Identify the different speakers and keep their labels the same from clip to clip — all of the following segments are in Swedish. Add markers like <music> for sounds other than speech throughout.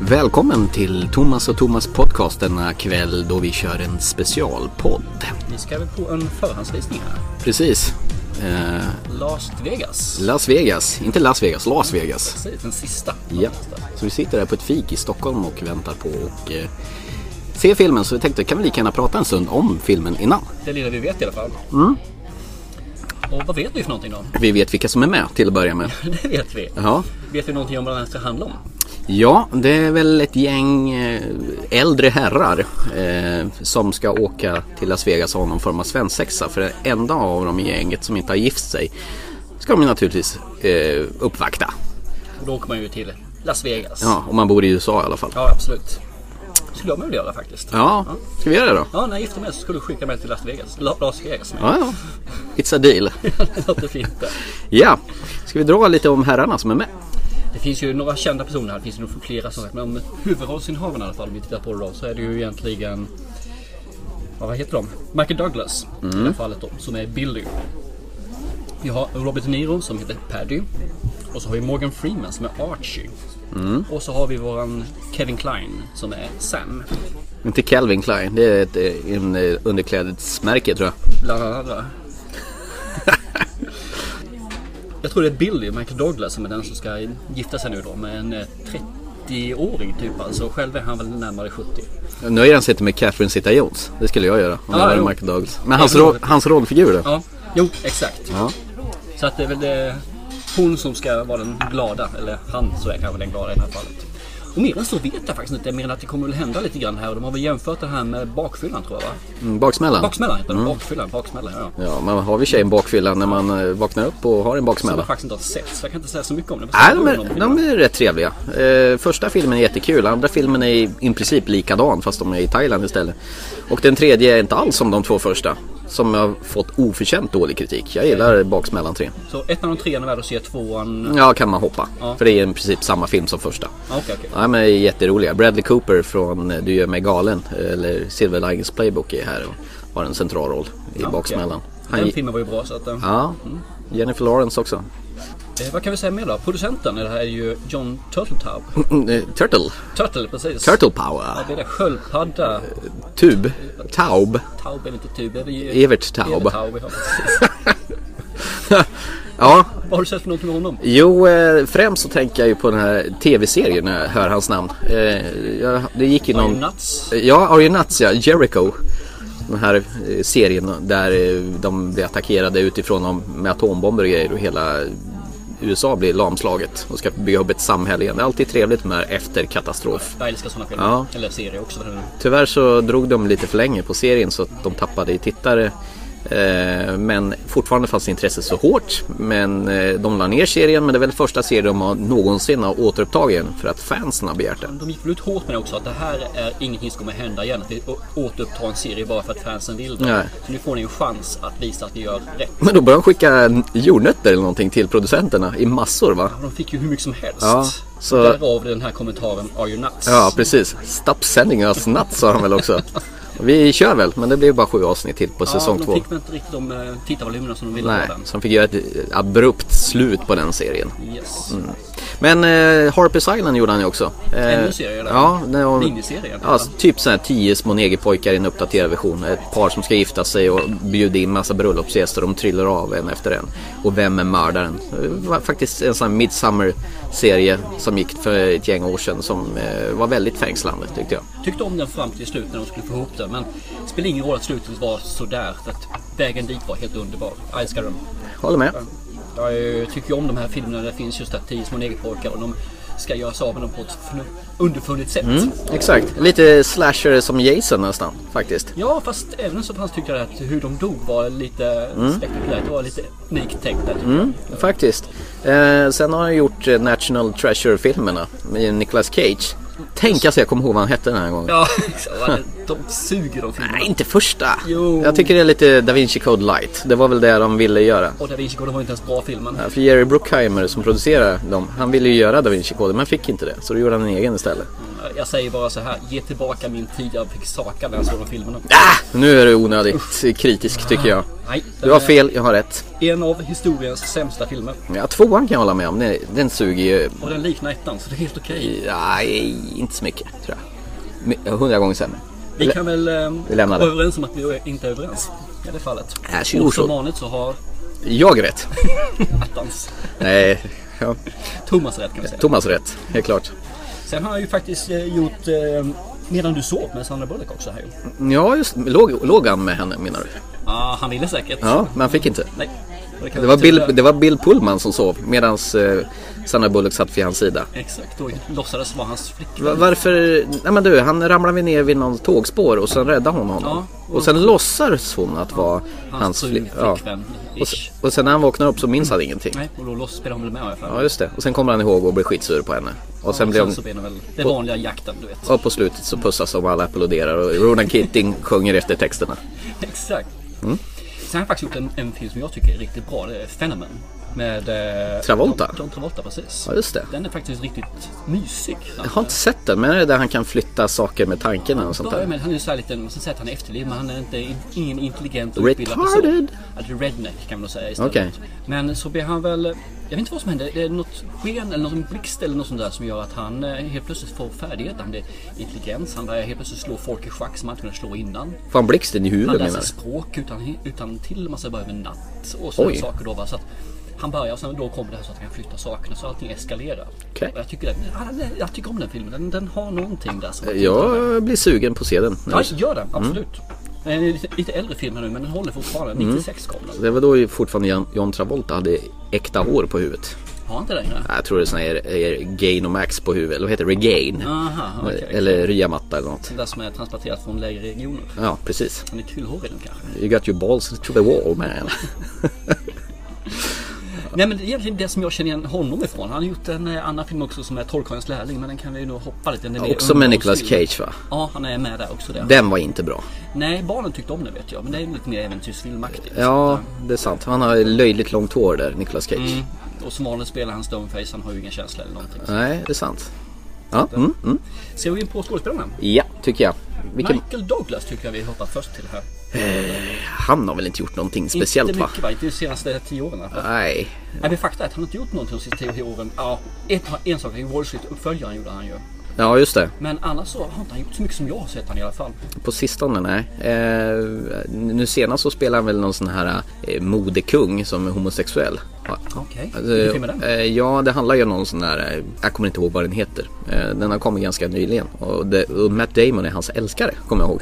Speaker 1: Välkommen till Thomas och Thomas podcast denna kväll då vi kör en specialpodd.
Speaker 2: Vi ska väl på en förhandsvisning här.
Speaker 1: Precis. Eh,
Speaker 2: Las Vegas.
Speaker 1: Las Vegas, inte Las Vegas, Las Vegas.
Speaker 2: Precis, den sista.
Speaker 1: Ja. Så vi sitter här på ett fik i Stockholm och väntar på och eh, se filmen så vi tänkte kan vi lika gärna prata en stund om filmen innan.
Speaker 2: Det lilla vi vet i alla fall.
Speaker 1: Mm.
Speaker 2: Och vad vet vi för någonting då? <laughs>
Speaker 1: Vi vet vilka som är med till att börja med.
Speaker 2: Det vet vi.
Speaker 1: Ja,
Speaker 2: Vet vi någonting om vad den här ska handla om?
Speaker 1: ja det är väl ett gäng eh, äldre herrar eh, som ska åka till Las Vegas och ha någon form av svensexa. För det enda av dem i gänget som inte har gift sig ska de ju naturligtvis eh, uppvakta.
Speaker 2: Och då åker man ju till Las Vegas.
Speaker 1: Ja, om man bor i USA i alla fall.
Speaker 2: Ja, absolut. Skulle jag med vilja göra faktiskt.
Speaker 1: Ja, ska vi göra det då?
Speaker 2: Ja, när jag gifte mig så skulle du skicka mig till Las Vegas. La- Las Vegas men
Speaker 1: Ja, ja. It's a deal.
Speaker 2: det <laughs> låter fint där.
Speaker 1: Ja, ska vi dra lite om herrarna som är med?
Speaker 2: Det finns ju några kända personer här. Det finns ju nog flera som sagt. Men om huvudrollsinnehavarna i alla fall, om vi tittar på det då, så är det ju egentligen ja, vad heter de? Michael Douglas i det här fallet då, som är Billy. Vi har Robert De Niro som heter Paddy. Och så har vi Morgan Freeman som är Archie. Och så har vi våran Kevin Klein som är Sam.
Speaker 1: Inte Calvin Klein, det är ett eh, en, eh, underklädesmärke tror jag.
Speaker 2: Bland annat va? Jag tror det är Billy, Michael Douglas, som är den som ska gifta sig nu då med en eh, 30-åring typ alltså. Själv är han väl närmare 70.
Speaker 1: Nöjer han sig inte med Catherine Zeta-Jones? Det skulle jag göra om
Speaker 2: Ja,
Speaker 1: jag
Speaker 2: jo.
Speaker 1: var Michael Douglas. Men hans,
Speaker 2: Även om
Speaker 1: roll,
Speaker 2: det-
Speaker 1: hans rollfigur då?
Speaker 2: Ja, jo exakt.
Speaker 1: Ja.
Speaker 2: Så att det är väl eh, hon som ska vara den glada, eller han så är kanske den glada i det här fallet. Och mer än så vet jag faktiskt inte, mer än att det kommer väl hända lite grann här och de har väl jämfört det här med bakfyllan tror jag va?
Speaker 1: Mm, Baksmällan?
Speaker 2: Baksmällan heter
Speaker 1: Mm.
Speaker 2: den, bakfyllan, baksmällan ja.
Speaker 1: Ja, men har vi tjejen bakfylla när man eh, vaknar upp och har en
Speaker 2: Som jag
Speaker 1: baksmälla?
Speaker 2: faktiskt inte har sett så jag kan inte säga så mycket om den.
Speaker 1: Nej, de är, de är rätt trevliga. Eh, första filmen är jättekul, andra filmen är i, i princip likadan fast de är i Thailand istället. Och den tredje är inte alls som de två första. Som har fått oförtjänt dålig kritik. Jag gillar Baksmällan 3.
Speaker 2: Så ettan och trean är värd att se, tvåan...
Speaker 1: Ja, kan man hoppa.
Speaker 2: Ja.
Speaker 1: För det är i princip samma film som första.
Speaker 2: Ja, Okej, okej.
Speaker 1: Nej men det är jätteroliga. Bradley Cooper från eh, Du gör mig galen, eh, eller Silver Linings Playbook är här och har en central roll i
Speaker 2: Ja,
Speaker 1: baksmällan.
Speaker 2: okej.
Speaker 1: Han,
Speaker 2: Den
Speaker 1: gi-
Speaker 2: filmen var ju bra så att... eh,
Speaker 1: ja, Jennifer Lawrence också. <clears throat>
Speaker 2: Eh, vad kan vi säga mer då? Producenten i det här är ju John Turtletaub.
Speaker 1: Mm, eh, Turtle,
Speaker 2: Turtle, precis.
Speaker 1: Turtle
Speaker 2: Ja,
Speaker 1: Power,
Speaker 2: det är det. Sköldpadda.
Speaker 1: Tub, Taub,
Speaker 2: Taub är inte tub. Är det ju...
Speaker 1: Evert Taub.
Speaker 2: Evert Taube, ja, precis.
Speaker 1: <laughs> Ja,
Speaker 2: Vad har du sett för något med honom?
Speaker 1: jo eh, främst så tänker jag ju på den här tv-serien när jag hör hans namn. Eh, jag- Det gick ju någon...
Speaker 2: Nuts.
Speaker 1: Ja, Are You Nuts ja, Jericho. Den här eh, serien där eh, de blir attackerade utifrån om- med atombomber och grejer och hela USA blir lamslaget och ska bygga upp ett samhälle igen. Det är alltid trevligt med efter katastrof.
Speaker 2: Jag älskar sådana filmer.
Speaker 1: Ja.
Speaker 2: Eller serier också. för den delen.
Speaker 1: Tyvärr så drog de lite för länge på serien så att de tappade i tittare. Eh, Men fortfarande fanns intresset så hårt. Men eh, de la ner serien men det är väl första serien de har någonsin har återupptagit den för att fansen har begärt den.
Speaker 2: De gick väl ut hårt med det också att det här är ingenting som kommer hända igen. Att vi å- återupptar en serie bara för att fansen vill det.
Speaker 1: Nej.
Speaker 2: Så nu får ni en chans att visa att ni gör rätt.
Speaker 1: Men då började de skicka jordnötter eller någonting till producenterna i massor va?
Speaker 2: Och de fick ju hur mycket som helst.
Speaker 1: Ja, så-
Speaker 2: Därav den här kommentaren Are you nuts?
Speaker 1: Ja, precis. Stop sending us nuts sa de väl också. Vi kör väl, men det blir bara sju avsnitt till på säsong
Speaker 2: ja,
Speaker 1: två.
Speaker 2: de fick väl inte riktigt de eh, tittarvolymerna som de ville ha
Speaker 1: Nej,
Speaker 2: den.
Speaker 1: så de fick göra ett abrupt slut på den serien.
Speaker 2: Yes.
Speaker 1: Mm. Men eh, Harper's Island gjorde han ju också. Eh,
Speaker 2: Ännu serier där.
Speaker 1: Ja, det var-
Speaker 2: Miniserie,
Speaker 1: Ja, s- typ sådana här tio små negerpojkar i en uppdaterad version. Ett par som ska gifta sig och bjuda in massa bröllopsgäster. De trillar av en efter en. Och vem är mördaren? Det var faktiskt en sån här Midsummer-serie som gick för ett gäng år sedan som eh, var väldigt fängslande tyckte jag.
Speaker 2: Tyckte om den fram till slut när de skulle få ihop den. Men det spelar ingen roll att slutet var sådär. För att vägen dit var helt underbar. Jag älskar den.
Speaker 1: Håller med.
Speaker 2: Jag eh, tycker ju om de här filmerna där det finns just att tio små negerpojkar och de ska göra sig av med dem på ett förnu- underfundigt sätt.
Speaker 1: Mm. Exakt, lite slasher som Jason nästan faktiskt.
Speaker 2: Ja, fast även så pass tyckte jag att hur de dog var lite
Speaker 1: Mm.
Speaker 2: spektakulärt. Det var lite unikt tänkt där. tycker jag.
Speaker 1: Faktiskt. Eh, sen har han gjort eh, National Treasure-filmerna med Nicolas Cage. Tänk alltså jag kommer ihåg vad han hette den här gången.
Speaker 2: Ja, <laughs> exakt. de suger de filmerna.
Speaker 1: Nej, inte första.
Speaker 2: Jo.
Speaker 1: Jag tycker det är lite Da Vinci Code Light. Det var väl det de ville göra.
Speaker 2: Och Da Vinci Code var inte ens bra filmen.
Speaker 1: Ja, För Jerry Bruckheimer som producerar dem, han ville ju göra Da Vinci Code men fick inte det. Så då gjorde han en egen istället.
Speaker 2: Jag Jag säger bara så här, ge tillbaka min tid jag fick saka när jag såg de filmerna.
Speaker 1: Nu är du onödigt kritisk tycker jag.
Speaker 2: Nej,
Speaker 1: Du har fel, jag har rätt.
Speaker 2: En av historiens sämsta filmer.
Speaker 1: Ja, tvåan kan jag hålla med om. Den, den suger ju...
Speaker 2: Och den liknar ettan, så det är helt okej.
Speaker 1: Nej, inte så mycket tror jag. My- Hundra gånger sämre.
Speaker 2: Vi kan väl ehm,
Speaker 1: vi lämnar
Speaker 2: vara
Speaker 1: det.
Speaker 2: överens om att vi inte är överens i det fallet.
Speaker 1: Äsch,
Speaker 2: Och som
Speaker 1: så-
Speaker 2: vanligt så har
Speaker 1: Jag är rätt.
Speaker 2: attans
Speaker 1: Nej, ja.
Speaker 2: Thomas rätt kan vi säga.
Speaker 1: Thomas är rätt, helt klart.
Speaker 2: Sen har han ju faktiskt eh, gjort eh, Medan du sov med Sandra Bullock också. Här. ju.
Speaker 1: Ja, just låg, låg han med henne menar du?
Speaker 2: Ah, han ville säkert.
Speaker 1: Ja, men han fick inte.
Speaker 2: Nej. och kan
Speaker 1: Det
Speaker 2: vi
Speaker 1: var
Speaker 2: inte
Speaker 1: Bill,
Speaker 2: göra.
Speaker 1: det var Bill Pullman som sov medan eh, Sandra Bullock satt vid hans sida.
Speaker 2: Exakt, och låtsades vara hans flickvän.
Speaker 1: Va- Varför? Nej men du, han ramlar vi ner vid någon tågspår och sen räddar hon honom.
Speaker 2: Ja.
Speaker 1: Och sen låtsas hon att vara hans,
Speaker 2: Hans fru,
Speaker 1: fli- ja.
Speaker 2: flickvän.
Speaker 1: och,
Speaker 2: ish.
Speaker 1: sen, och sen när han vaknar upp så minns han ingenting.
Speaker 2: Nej, och då låtsas spelar hon väl med har jag för mig.
Speaker 1: Ja just det. Och sen kommer han ihåg och blir skitsur på henne. Och sen blir hon...
Speaker 2: så blir det väl det vanliga jakten, du vet. <laughs>
Speaker 1: Och på slutet så pussas de och alla applåderar och Ronan Keating sjunger efter texterna.
Speaker 2: Exakt.
Speaker 1: Mm.
Speaker 2: Sen har han faktiskt gjort en, en film som jag tycker är riktigt bra. Det är Phenomen. Med eh,
Speaker 1: Travolta.
Speaker 2: John, John Travolta, precis.
Speaker 1: Ja just det.
Speaker 2: Den är faktiskt riktigt mysig.
Speaker 1: Jag har inte sett den men är det där han kan flytta saker med tankarna och sånt
Speaker 2: Ja,
Speaker 1: där?
Speaker 2: men han är ju såhär liten, man ska säga att han är efterbliven men han är inte in- ingen intelligent och utbildad person.
Speaker 1: Retarded.
Speaker 2: Alltså redneck kan man nog säga istället.
Speaker 1: Okej.
Speaker 2: Men så blir han väl, jag vet inte vad som händer, det är något sken eller någon blixt eller något sånt där som gör att han eh, helt plötsligt får färdigheter. Han blir intelligens, han börjar helt plötsligt slå folk i schack som han inte kunde slå innan.
Speaker 1: Får han blixten i
Speaker 2: Han
Speaker 1: huvudet
Speaker 2: läser
Speaker 1: menar du?
Speaker 2: språk utan, utan till massa bara över en natt och sådana
Speaker 1: Oj.
Speaker 2: saker då. Va? Så att han börjar och sen då kommer det här så att han kan flytta sakerna så allting eskalerar.
Speaker 1: Okej.
Speaker 2: Och jag, tycker den, ja, den är- jag tycker om den filmen, den, den har någonting där som
Speaker 1: Jag Mm. blir sugen på att se den.
Speaker 2: Ja, gör den, absolut. Den är lite, lite äldre film här nu men den håller fortfarande.
Speaker 1: Mm.
Speaker 2: 96 kom den.
Speaker 1: Det var då ju fortfarande Jan- John Travolta hade äkta hår på huvudet.
Speaker 2: Har han inte det längre?
Speaker 1: Nej, Jag tror det är sån här er Gain och Max på huvudet. Eller vad heter det? Regain.
Speaker 2: Aha, okej.
Speaker 1: Eller Ryamatta eller något.
Speaker 2: Den där som är transporterad från lägre regioner.
Speaker 1: Ja, precis.
Speaker 2: Han är krullhårig nu kanske.
Speaker 1: You got your balls to the wall man.
Speaker 2: <laughs> Nej men det är egentligen det som jag känner igen honom ifrån. Han har gjort en eh, annan film också som är Trollkarlens lärling men den kan vi nog hoppa lite. Den är mer
Speaker 1: Också med Nicolas
Speaker 2: underhållsfilm.
Speaker 1: Cage va?
Speaker 2: Ja, han är med där också. Där.
Speaker 1: Den var inte bra.
Speaker 2: Nej, barnen tyckte om den vet jag. Men det är lite mer äventyrsfilmaktigt.
Speaker 1: Ja, det är sant. Han har löjligt långt hår där, Nicolas Cage.
Speaker 2: Mm. Och som vanligt spelar han stoneface. Han har ju ingen känsla eller någonting.
Speaker 1: Nej, det är sant. Ja, mm, mm.
Speaker 2: Ska vi in på skådespelarna?
Speaker 1: ja tycker jag. Vilken...
Speaker 2: Michael Douglas tycker jag vi hoppar först till här.
Speaker 1: Eh, Han har väl inte gjort någonting speciellt
Speaker 2: Inte
Speaker 1: va?
Speaker 2: mycket va? Inte de senaste tio åren i alla fall.
Speaker 1: Nej.
Speaker 2: Nej men fakta är att han har inte gjort någonting de sista tio åren. Ja, ett, en sak är ju Wall Street uppföljaren gjorde han ju.
Speaker 1: Ja, just det.
Speaker 2: Men annars så har inte han gjort så mycket som jag har sett han i alla fall.
Speaker 1: På sistone, nej. Eh, nu senast så spelar han väl någon sån här eh, modekung som är homosexuell. Ja.
Speaker 2: Okej,
Speaker 1: Alltså,
Speaker 2: vilken film är den?
Speaker 1: eh, ja, det handlar ju om någon sån här, eh, jag kommer inte ihåg vad den heter. Eh, den har kommit ganska nyligen. Och, det, och Matt Damon är hans älskare, kommer jag ihåg.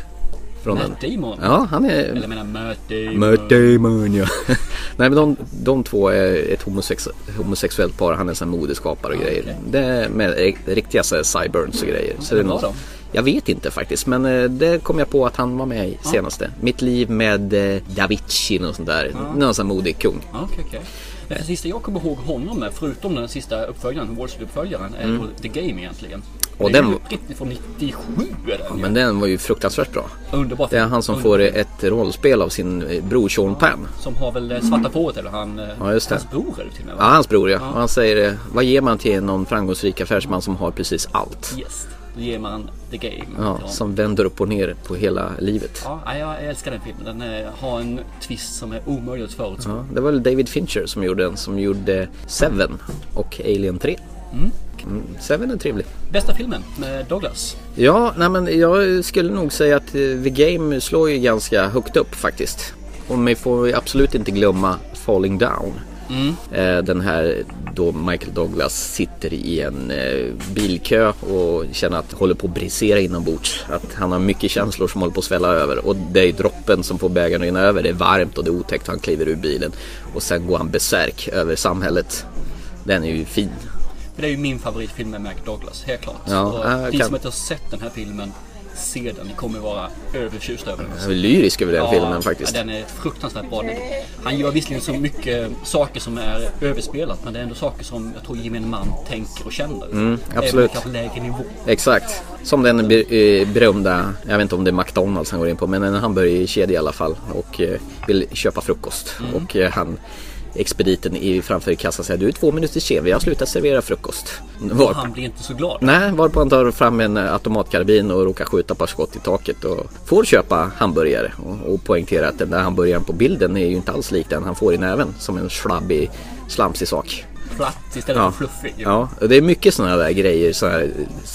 Speaker 1: Från
Speaker 2: Matt
Speaker 1: den.
Speaker 2: Damon.
Speaker 1: Ja, han är...
Speaker 2: Eller jag menar Matt Damon.
Speaker 1: Matt Damon ja. <laughs> Nej men de, de två är ett homosex, homosexuellt par. Han är sån här modeskapare och grejer.
Speaker 2: okej.
Speaker 1: Det är med ri- riktiga så här, cyburns och grejer. Så det är
Speaker 2: Vem var
Speaker 1: någon-
Speaker 2: de?
Speaker 1: Jag vet inte faktiskt men eh, det kom jag på att han var med i senaste. Mitt liv med eh, Davici och sånt där. Någon sån här modig kung.
Speaker 2: Ja, Okej, okej. Men det sista jag kommer ihåg honom med, förutom den sista uppföljaren, Wall Street-uppföljaren, är då The Game egentligen.
Speaker 1: Mm. Och
Speaker 2: det är
Speaker 1: den-
Speaker 2: ju riktigt från 97 är den ju.
Speaker 1: Men den var ju fruktansvärt bra.
Speaker 2: Underbar
Speaker 1: Det är han som får eh, ett rollspel av sin eh, bror Sean Penn.
Speaker 2: Som har väl eh, svarta fåret eller han... eh,
Speaker 1: Ja, just det.
Speaker 2: Hans bror är det till och med
Speaker 1: Ja,
Speaker 2: va?
Speaker 1: hans bror ja. Och han säger, eh, vad ger man till någon framgångsrik affärsman som har precis allt?
Speaker 2: Yes. Då ger man The Game.
Speaker 1: Ja,
Speaker 2: Ja.
Speaker 1: som vänder upp och ner på hela livet.
Speaker 2: Ja, nej, jag älskar den filmen. Den eh, har en twist som är omöjlig att förutspå.
Speaker 1: Ja, det var väl David Fincher som gjorde den, som gjorde Seven och Alien 3. Mm, Seven är trevlig.
Speaker 2: Bästa filmen med Douglas.
Speaker 1: Ja, nej men jag skulle nog säga att eh, The Game slår ju ganska högt upp faktiskt. Och vi får ju absolut inte glömma Falling Down.
Speaker 2: Mm.
Speaker 1: Eh, Den här då Michael Douglas sitter i en eh, bilkö och känner att håller på att brisera inombords. Att han har mycket känslor som håller på att svälla över. Och det är droppen som får bägaren att rinna över. Det är varmt och det är otäckt. Han kliver ur bilen och sen går han besärk över samhället. Den är ju fin.
Speaker 2: För det är ju min favoritfilm med Mac Douglas, helt klart.
Speaker 1: Ja,
Speaker 2: och
Speaker 1: eh,
Speaker 2: de
Speaker 1: kan-
Speaker 2: som inte har sett den här filmen, se den. Ni kommer vara överförtjusta över den.
Speaker 1: Jag är lyrisk över den filmen faktiskt.
Speaker 2: Ja, den är fruktansvärt bra. Han gör visserligen så mycket saker som är överspelat men det är ändå saker som jag tror gemene man tänker och känner. Mm, Även
Speaker 1: absolut.
Speaker 2: på kanske lägre nivå. Exakt.
Speaker 1: Exakt. Som den ber- eh, berömda, jag vet inte om det är McDonalds han går in på, men en hamburgerkedja i alla fall och eh, vill köpa frukost. Och eh, han expediten i, framför kassan säger du är två minuter sen, vi har slutat servera frukost. Var,
Speaker 2: Han blir inte så glad.
Speaker 1: nej, varpå han tar fram en eh, automatkarbin och råkar skjuta ett par skott i taket och får köpa hamburgare. Och, och poängterar att den där hamburgaren på bilden är ju inte alls lik den han får i näven som en slabbig, slamsig sak.
Speaker 2: Platt istället för fluffig. ju.
Speaker 1: Ja, och det är mycket sådana där grejer, sådana här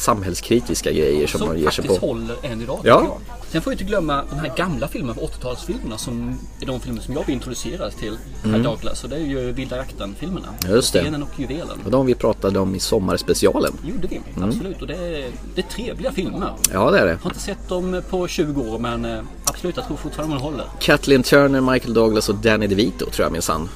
Speaker 1: samhällskritiska grejer som, man
Speaker 2: Som
Speaker 1: ger sig
Speaker 2: faktiskt
Speaker 1: på.
Speaker 2: håller än idag.
Speaker 1: Ja.
Speaker 2: tycker jag. Sen får jag inte glömma de här gamla filmerna, 80-talsfilmerna som är de filmer som jag blir introducerad till här Douglas. Och det är ju Vilda Jakten-filmerna.
Speaker 1: Mm. Just det.
Speaker 2: Stenen och juvelen.
Speaker 1: Och de vi pratade om i sommarspecialen.
Speaker 2: Gjorde vi,
Speaker 1: Mm.
Speaker 2: absolut. Och det är, det är trevliga filmer.
Speaker 1: Ja, det är det.
Speaker 2: Jag har inte sett dem på 20 år men eh, absolut, jag tror fortfarande de håller.
Speaker 1: Kathleen Turner, Michael Douglas och Danny DeVito tror jag minsann.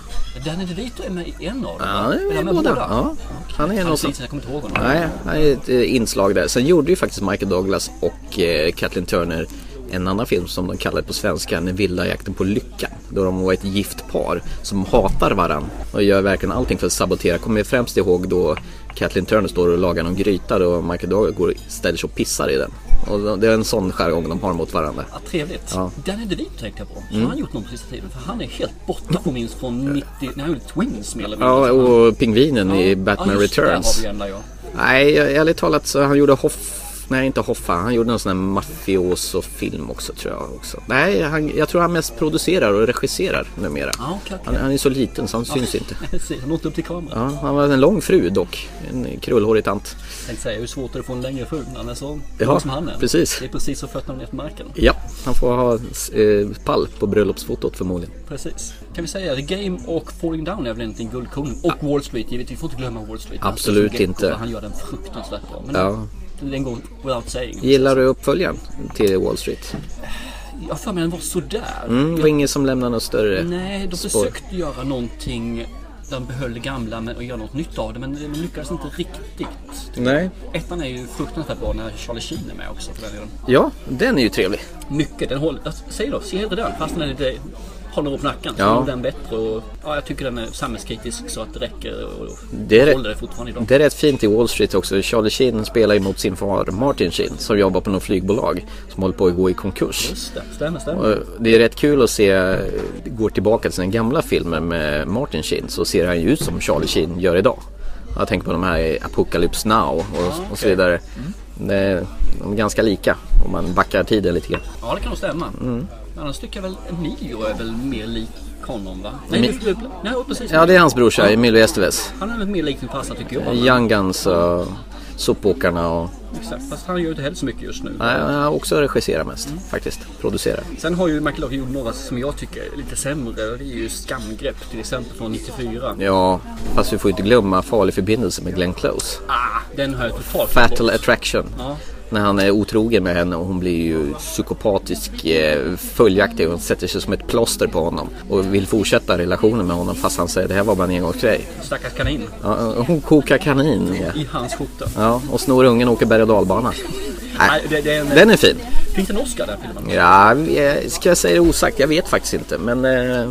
Speaker 2: Danny DeVito är med i en av dem.
Speaker 1: Ja, han
Speaker 2: va?
Speaker 1: är med i
Speaker 2: han
Speaker 1: båda. Ja. Han är
Speaker 2: Han är
Speaker 1: någon
Speaker 2: precis,
Speaker 1: som...
Speaker 2: jag kommer inte ihåg honom.
Speaker 1: Nej, han är ett eh, inslag där. Sen gjorde ju faktiskt Michael Douglas och eh, Kathleen Turner en annan film som de kallade på svenska Den vilda jakten på lyckan. Då de var ett gift par som hatar varann och gör verkligen allting för att sabotera. Kommer jag främst ihåg då Kathleen Turner står och lagar någon gryta och Michael Douglas går och ställer sig och pissar i den. Och det är en sån jargong de har mot varandra.
Speaker 2: Ja, trevligt.
Speaker 1: Ja. Mm.
Speaker 2: Danny DeVito tänkte jag på. Har han gjort någon på sista tiden? För han är helt borta på minst från 90, när han gjorde Twins mer eller mindre.
Speaker 1: Ja,
Speaker 2: Så han-
Speaker 1: och pingvinen i Batman
Speaker 2: ja, just det,
Speaker 1: Returns.
Speaker 2: Där har vi den där ja.
Speaker 1: Nej, jag- ärligt talat så han gjorde Hoff... Nej, inte Hoffa. Han gjorde någon sån här mafioso-film också tror jag. Också. Nej, han, jag tror han mest producerar och regisserar numera.
Speaker 2: Ah, okej, okej.
Speaker 1: Han, han är så liten så han syns inte.
Speaker 2: <laughs> Precis, han åkte upp till kameran.
Speaker 1: Ja, han var en lång fru dock. En krullhårig tant.
Speaker 2: Tänkte säga, hur svårt är det att få en längre fru när han är så
Speaker 1: Ja,
Speaker 2: lång som han är?
Speaker 1: precis.
Speaker 2: Det är precis som fötterna ner på marken.
Speaker 1: Ja, han får ha eh, pall på bröllopsfotot förmodligen.
Speaker 2: Precis. Kan vi säga The Game och Falling Down är väl egentligen guldkungen. Och Wall Street givetvis. Vi får inte glömma Wall Street.
Speaker 1: Absolut
Speaker 2: Han spelar som
Speaker 1: inte.
Speaker 2: Gecko, Han gör den fruktansvärt bra. Men
Speaker 1: Ja.
Speaker 2: den, den går without saying.
Speaker 1: Gillar du uppföljaren till Wall Street?
Speaker 2: Jag har för mig den var sådär.
Speaker 1: Mm, det var ingen som lämnade något större
Speaker 2: Nej, de
Speaker 1: spår.
Speaker 2: försökte göra någonting. De behöll det gamla men, och göra något nytt av det. Men de lyckades inte riktigt.
Speaker 1: Nej.
Speaker 2: Ettan är ju fruktansvärt bra när Charlie Sheen är med också för den delen.
Speaker 1: Ja, den är ju trevlig.
Speaker 2: Mycket. Den håller, jag säger då, se hellre den fast den är lite håller upp nacken. Så
Speaker 1: Ja.
Speaker 2: ja. den bättre och ja, jag tycker den är samhällskritisk så att det räcker och, och
Speaker 1: Det är det.
Speaker 2: håller det fortfarande idag.
Speaker 1: Det är rätt fint i Wall Street också. Charlie Sheen spelar ju mot sin far Martin Sheen som jobbar på något flygbolag som håller på att gå i konkurs.
Speaker 2: Just det, stämmer, stämmer.
Speaker 1: Och Det är rätt kul att se, går tillbaka till sina gamla filmer med Martin Sheen så ser han ju ut som Charlie Sheen gör idag. Jag tänker på de här i Apocalypse Now och, och så vidare. Det är, de är ganska lika om man backar tiden lite grann.
Speaker 2: Ja, det kan nog stämma.
Speaker 1: Mm.
Speaker 2: Annars tycker jag väl Emilio är väl mer lik honom va? Nej,
Speaker 1: Emil-
Speaker 2: du, du, nej precis.
Speaker 1: Ja, det är hans brorsa Emilio Estevez.
Speaker 2: Han är väl mer lik sin farsa tycker jag. men-
Speaker 1: Young Guns och Sopåkarna och...
Speaker 2: Exakt, fast han gör ju inte heller så mycket just nu.
Speaker 1: Nej, han har också regisserar mest faktiskt. Producerar.
Speaker 2: Sen har ju Michael Locke gjort några som jag tycker är lite sämre. Det är ju Skamgrepp till exempel från 94.
Speaker 1: Ja, fast vi får inte glömma Farlig förbindelse med Glenn Close.
Speaker 2: Ah, den har jag totalt
Speaker 1: Fatal
Speaker 2: bort.
Speaker 1: attraction.
Speaker 2: Ja.
Speaker 1: När han är otrogen med henne och hon blir ju psykopatisk eh, följaktig. Hon sätter sig som ett plåster på honom och vill fortsätta relationen med honom fast han säger det här var bara en engångsgrej.
Speaker 2: Stackars kanin
Speaker 1: Ja, eh, hon kokar kanin. ja.
Speaker 2: i hans skjorta.
Speaker 1: Ja, och snor ungen och åker berg och dalbana.
Speaker 2: Nej, det, det är en,
Speaker 1: Den är fin.
Speaker 2: Finns det en Oscar den filmen?
Speaker 1: Ja, eh, ska jag säga det osagt? Jag vet faktiskt inte. Men eh,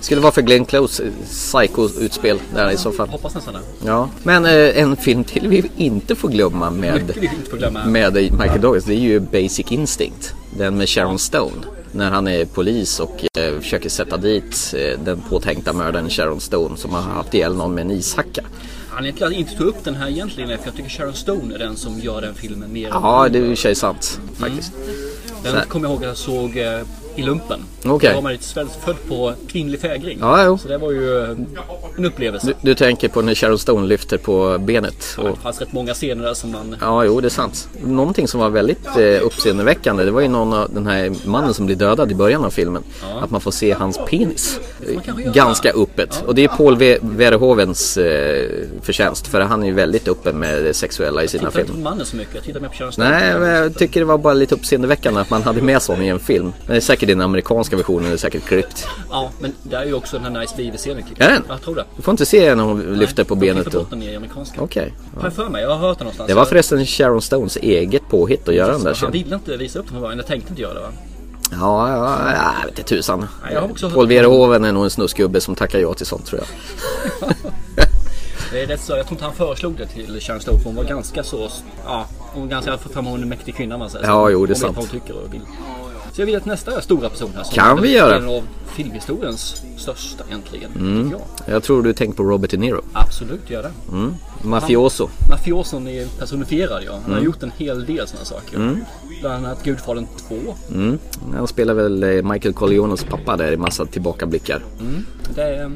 Speaker 1: skulle vara för Glenn Close eh, psycho-utspel där i så fall.
Speaker 2: Hoppas nästan det.
Speaker 1: Ja, men eh, en film till vi inte får glömma med,
Speaker 2: Mycket vi inte får glömma.
Speaker 1: med Michael Douglas det är ju Basic Instinct. Den med Sharon Stone. När han är polis och eh, försöker sätta dit eh, den påtänkta mördaren Sharon Stone som har haft ihjäl någon med en ishacka.
Speaker 2: Anledningen till att jag inte tog upp den här egentligen är för jag tycker Sharon Stone är den som gör den filmen mer. Mm.
Speaker 1: Ja, det är ju i och för sig sant faktiskt.
Speaker 2: Den kommer jag ihåg att jag såg eh, i lumpen.
Speaker 1: Okej.
Speaker 2: Då var man ju svensk- född på kvinnlig fägring.
Speaker 1: Ja, jo.
Speaker 2: Så det var ju eh, en upplevelse.
Speaker 1: Du, du tänker på när Sharon Stone lyfter på benet.
Speaker 2: Det
Speaker 1: Och,
Speaker 2: fanns rätt många scener där som man...
Speaker 1: ja, jo, det är sant. Någonting som var väldigt eh, uppseendeväckande det var ju någon av den här mannen som blir dödad i början av filmen. Att man får se hans penis. eh,
Speaker 2: man kanske göra.
Speaker 1: ganska öppet. Och det är Paul v- Verhovens eh, förtjänst för han är ju väldigt öppen med det sexuella i sina
Speaker 2: Jag tittar inte
Speaker 1: filmer.
Speaker 2: på mannen så mycket, jag tittar mer på Sharon Stone.
Speaker 1: Nej, men jag tycker det var bara lite uppseendeväckande att man hade med sån i en film. Men det är säkert i den amerikanska versionen, det är säkert klippt.
Speaker 2: Ja, men där är ju också den här Nice Beaver-scenen klippt.
Speaker 1: Är den?
Speaker 2: Jag tror det.
Speaker 1: Du får inte se när hon lyfter på
Speaker 2: De
Speaker 1: benet.
Speaker 2: klipper
Speaker 1: Och...
Speaker 2: bort den i amerikanska.
Speaker 1: Okej.
Speaker 2: Har jag för mig, jag har hört det någonstans.
Speaker 1: Det var förresten Sharon Stones eget påhitt att göra den där
Speaker 2: Han
Speaker 1: scenen.
Speaker 2: ville inte visa upp den från början, jag tänkte inte göra det va?
Speaker 1: Ja, ja, ja, jag vet inte tusan.
Speaker 2: Nej, jag har också-
Speaker 1: Paul Verhoeven är nog en snuskgubbe som tackar ja till sånt tror jag.
Speaker 2: Det är rätt så, jag tror inte han föreslog det till Sharon Stone för hon var ganska så, ja, hon var ganska, för fan hon är en mäktig kvinna om man säger så.
Speaker 1: Ja, jo, det är
Speaker 2: Hon vet
Speaker 1: sant.
Speaker 2: vad hon tycker och vill. Så jag vill att nästa stora person här som
Speaker 1: Kan vi göra? Mm.
Speaker 2: en av filmhistoriens största egentligen. Tycker jag.
Speaker 1: Jag tror du tänker på Robert De Niro.
Speaker 2: Absolut gör det.
Speaker 1: Mm. Mafioso.
Speaker 2: Mafioson är personifierad ja. Han
Speaker 1: Mm.
Speaker 2: har gjort en hel del sådana saker. Bland annat Gudfadern 2.
Speaker 1: Mm. Han spelar väl eh, Michael Corleones pappa där i massa tillbakablickar.
Speaker 2: Det är, jag kommer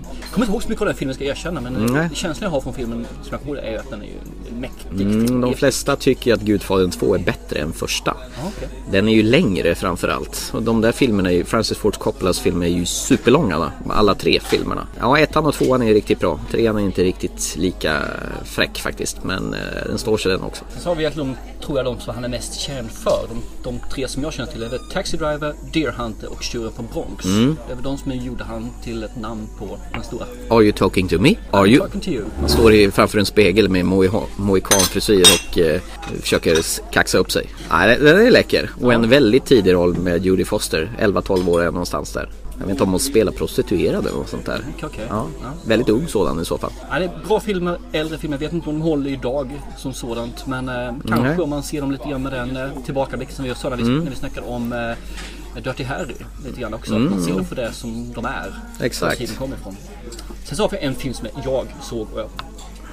Speaker 2: inte ihåg så mycket av den filmen ska jag erkänna men
Speaker 1: Mm. Nej.
Speaker 2: känslan jag har från filmen som jag kommer ihåg är att den är ju en mäktig.
Speaker 1: Mm,
Speaker 2: film.
Speaker 1: de flesta tycker att Gudfadern 2 är bättre än första.
Speaker 2: Ja, okej.
Speaker 1: Den är ju längre framförallt. Och de där filmerna, är ju, Francis Ford Coppolas filmer är ju superlånga va? alla tre filmerna. Ja, ettan och tvåan är riktigt bra. Trean är inte riktigt lika fräck faktiskt, men eh, den står sig den också.
Speaker 2: Sen så har vi egentligen, de, tror jag, de som han är mest känd för. De, de tre som jag känner till är väl Taxi Driver, Deer Hunter och Tjuren från Bronx.
Speaker 1: Mm.
Speaker 2: Det är väl de som gjorde han till ett namn på den stora.
Speaker 1: Are you talking to me? Are you?
Speaker 2: Talking to you.
Speaker 1: Han står i, framför en spegel med mohiha- mohikanfrisyr och eh, försöker s- kaxa upp sig. Nej, den den är läcker. Och en väldigt tidig roll med Judy Foster, 11-12 år är någonstans där. Jag vet inte om hon spelar prostituerad eller något sånt där.
Speaker 2: Okej, okej.
Speaker 1: Ja,
Speaker 2: Ja.
Speaker 1: väldigt ung sådan i så fall.
Speaker 2: Ja, det är bra filmer, äldre filmer. Jag vet inte om de håller idag som sådant. Men eh, kanske
Speaker 1: Nej. Mm.
Speaker 2: om man ser dem lite grann med den eh, tillbakablicken som vi sa när vi, när vi snackade om eh, Dirty Harry. Lite grann också. Att man ser dem för det som de är.
Speaker 1: Mm. Exakt.
Speaker 2: Var tiden kommer ifrån. Sen så har vi en film som jag såg och jag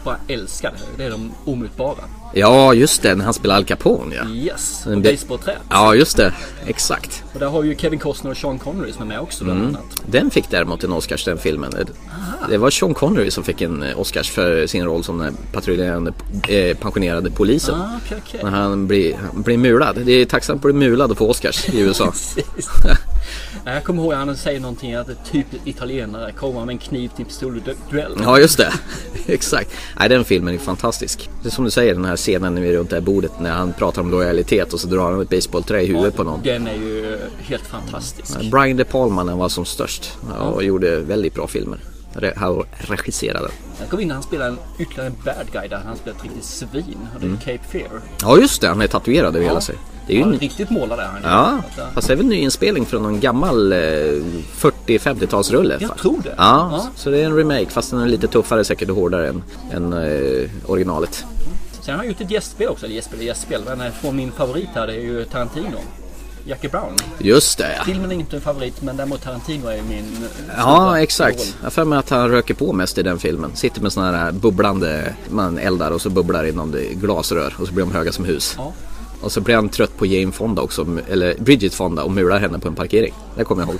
Speaker 2: bara älskade. Det är De Omutbara.
Speaker 1: Ja, just det, när han spelar Al Capone ja.
Speaker 2: Yes,
Speaker 1: En
Speaker 2: och
Speaker 1: be-
Speaker 2: basebollträ.
Speaker 1: Ja, just det. Exakt.
Speaker 2: Och där har ju Kevin Costner och Sean Connery som är med också bland
Speaker 1: Mm.
Speaker 2: annat.
Speaker 1: Den fick däremot en Oscars den filmen. Eh, Det var Sean Connery som fick en eh, Oscars för sin roll som den här patrullerande eh, pensionerade polisen.
Speaker 2: Ah, okej, okej. <laughs>
Speaker 1: När han blir, han blir mulad. Det är tacksamt att bli mulad och få Oscars i USA.
Speaker 2: Precis. Nej, jag kommer ihåg att han säger någonting att det är typ italienare kommer med en kniv till en pistolduell.
Speaker 1: Ja, just det. <laughs> Exakt. Nej, den filmen är fantastisk. Det är som du säger, den här scenen när vi är runt det här bordet när han pratar om lojalitet och så drar han ett basebollträ i huvudet på någon. Mm.
Speaker 2: Den är ju helt fantastisk.
Speaker 1: Brian De Palma när han var som störst ja, och gjorde väldigt bra filmer. Re- Han regisserade.
Speaker 2: Jag kom in när han spelade en, ytterligare en bad guy där han spelade ett riktigt svin. Och det är Cape Fear.
Speaker 1: Ja, just det. Han är tatuerad över Mm. hela sig. Det är ju
Speaker 2: Han
Speaker 1: en
Speaker 2: är riktigt målad där han.
Speaker 1: Ja,
Speaker 2: Att, äh,
Speaker 1: fast det är väl en nyinspelning från någon gammal eh, 40-50-talsrulle?
Speaker 2: Jag tror det.
Speaker 1: Ja,
Speaker 2: Ja.
Speaker 1: så det är en remake fast den är lite tuffare säkert och hårdare än, än eh, originalet.
Speaker 2: Sen har han gjort ett gästspel också. Eller gästspel, gästspel. Men eh, från min favorit här det är ju Tarantino. Jackie Brown.
Speaker 1: Just det ja.
Speaker 2: Filmen är inte en favorit men däremot Tarantino är min... eh, stora
Speaker 1: Ja, exakt.
Speaker 2: idol.
Speaker 1: Jag har för mig att han röker på mest i den filmen. Sitter med sådana här bubblande, man eldar och så bubblar det i någon glasrör och så blir de höga som hus.
Speaker 2: Ja.
Speaker 1: Och så blir han trött på Jane Fonda också, eller Bridget Fonda och mular henne på en parkering. Det kommer jag ihåg.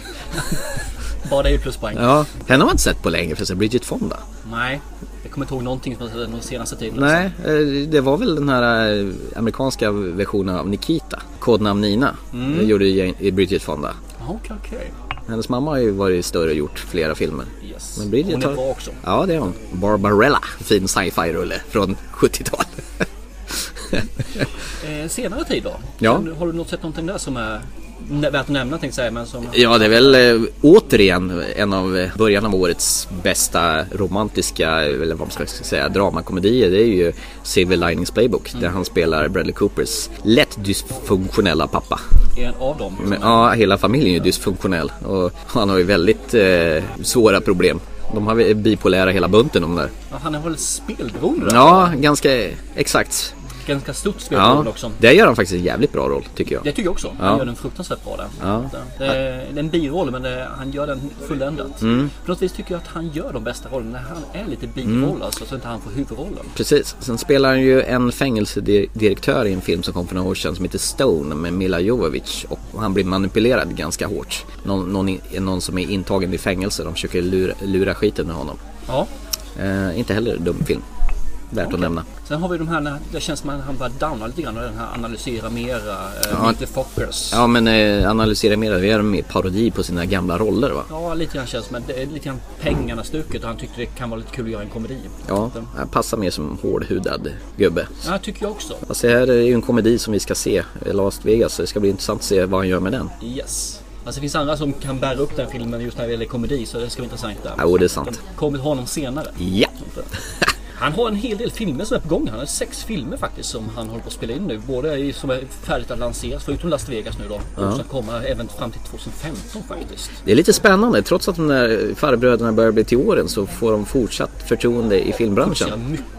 Speaker 2: Bara det är ju pluspoäng.
Speaker 1: Ja, henne har man inte sett på länge för sig, Bridget Fonda.
Speaker 2: Nej, jag kommer inte ihåg någonting som jag sett den senaste tiden.
Speaker 1: Nej, eh, det var väl den här eh, amerikanska versionen av Nikita. Kodnamn Nina. Det gjorde Jane- i Bridget Fonda.
Speaker 2: Okej, okej.
Speaker 1: Hennes mamma har ju varit större och gjort flera filmer.
Speaker 2: Yes.
Speaker 1: Men Bridget
Speaker 2: Hon är
Speaker 1: har-
Speaker 2: bra också.
Speaker 1: Ja, det är hon. Barbarella, fin sci-fi-rulle från <laughs> 70-tal.
Speaker 2: Eh, senare tid då?
Speaker 1: Ja.
Speaker 2: Kan du- Har du något sett någonting där som är nä- värt att nämna tänkte jag säga. Men som...
Speaker 1: ja, det är väl eh, återigen en av eh, början av årets bästa romantiska, eh, eller vad man ska säga, dramakomedier. Det är ju Silver Linings Playbook där han spelar Bradley Coopers lätt dysfunktionella pappa.
Speaker 2: är en av dem.
Speaker 1: Men, ja, hela familjen är ju dysfunktionell och han har ju väldigt eh, svåra problem. De har väl- är bipolära hela bunten de där.
Speaker 2: Ja, han är väl spelberoende? där?
Speaker 1: Ja, ganska exakt.
Speaker 2: Ganska stort
Speaker 1: Ja,
Speaker 2: spelberoende också.
Speaker 1: där gör han faktiskt en jävligt bra roll tycker jag.
Speaker 2: Det tycker jag också. Han gör den fruktansvärt bra där.
Speaker 1: Ja.
Speaker 2: Det är det är en biroll men det, han gör den fulländat.
Speaker 1: Mm.
Speaker 2: På något vis tycker jag att han gör de bästa rollerna när han är lite biroll
Speaker 1: Mm.
Speaker 2: alltså. Så inte han får huvudrollen.
Speaker 1: Precis. Sen spelar han ju en fängelsedirektör i en film som kom för några år sedan som heter Stone med Mila Jovovich och han blir manipulerad ganska hårt. Någon, någon, i- någon som är intagen i fängelse, de försöker lura, lura skiten ur honom.
Speaker 2: Ja.
Speaker 1: Eh, inte heller dum film. Värt att nämna.
Speaker 2: Sen har vi de här, när det känns som att han bara downar lite grann. och Den här analysera mera, eh,
Speaker 1: Ja.
Speaker 2: lite focus.
Speaker 1: Ja men eh, analysera mer, det är mer parodi på sina gamla roller va?
Speaker 2: Ja, lite grann känns det som att det är lite grann pengarna stuket och han tyckte det kan vara lite kul att göra en komedi.
Speaker 1: Ja, han passar mer som hårdhudad gubbe.
Speaker 2: Ja, det tycker jag också.
Speaker 1: Fast det här är ju en komedi som vi ska se, eh, Las Vegas, så det ska bli intressant att se vad han gör med den.
Speaker 2: Yes. Alltså det finns andra som kan bära upp den filmen just när det gäller komedi så det ska bli intressant där.
Speaker 1: Jo, det är sant.
Speaker 2: Kommer honom senare.
Speaker 1: Ja!
Speaker 2: Han har en hel del filmer som är på gång. Han har sex filmer faktiskt som han håller på att spela in nu. Både i- som är färdigt att lanseras förutom Las Vegas nu då. Och som kommer även fram till 2015 faktiskt.
Speaker 1: Det är lite spännande, trots att de där farbröderna börjar bli till åren så får de fortsatt förtroende i
Speaker 2: Så
Speaker 1: filmbranschen.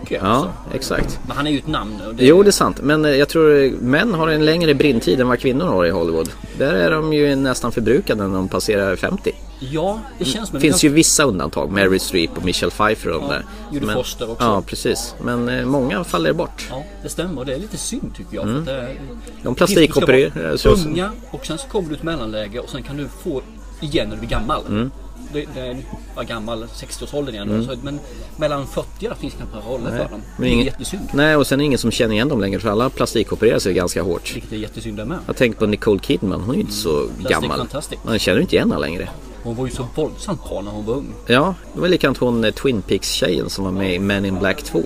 Speaker 2: mycket
Speaker 1: Ja,
Speaker 2: alltså.
Speaker 1: exakt.
Speaker 2: Men han är ju ett namn nu. och det-
Speaker 1: Jo, det är sant. Men eh, jag tror eh, män har en längre brintid än vad kvinnor har i Hollywood. Där är de ju nästan förbrukade när de passerar 50.
Speaker 2: Ja, det känns som
Speaker 1: Det finns ju vissa undantag. Mary Streep och Michelle Pfeiffer och de där.
Speaker 2: Judy Foster också.
Speaker 1: Ja, precis. Men eh, många faller bort.
Speaker 2: Ja, det stämmer. Det är lite synd tycker jag.
Speaker 1: Mm.
Speaker 2: För att eh, det är,
Speaker 1: De plastikopererar-
Speaker 2: Du ska
Speaker 1: så-
Speaker 2: vara Unga och sen så kommer du till mellanläge och sen kan du få igen när du blir gammal.
Speaker 1: Mm.
Speaker 2: Det, det är, ja, gammal, 60-årsåldern igen. då, Så, men mellan 40 där finns knappt några roller för dem. Det är
Speaker 1: ingen-
Speaker 2: jättesynd.
Speaker 1: Nej, och sen är det ingen som känner igen dem längre för alla plastikopererar sig ganska hårt.
Speaker 2: Vilket är jättesynd det med.
Speaker 1: Jag tänkte på Nicole Kidman, hon är ju inte så
Speaker 2: Mm.
Speaker 1: gammal.
Speaker 2: Fantastic.
Speaker 1: Man känner ju inte igen henne längre.
Speaker 2: Hon var ju så våldsamt bra när hon var ung.
Speaker 1: Ja, det var likadant hon eh, Twin Peaks-tjejen som var med i Men in Black 2.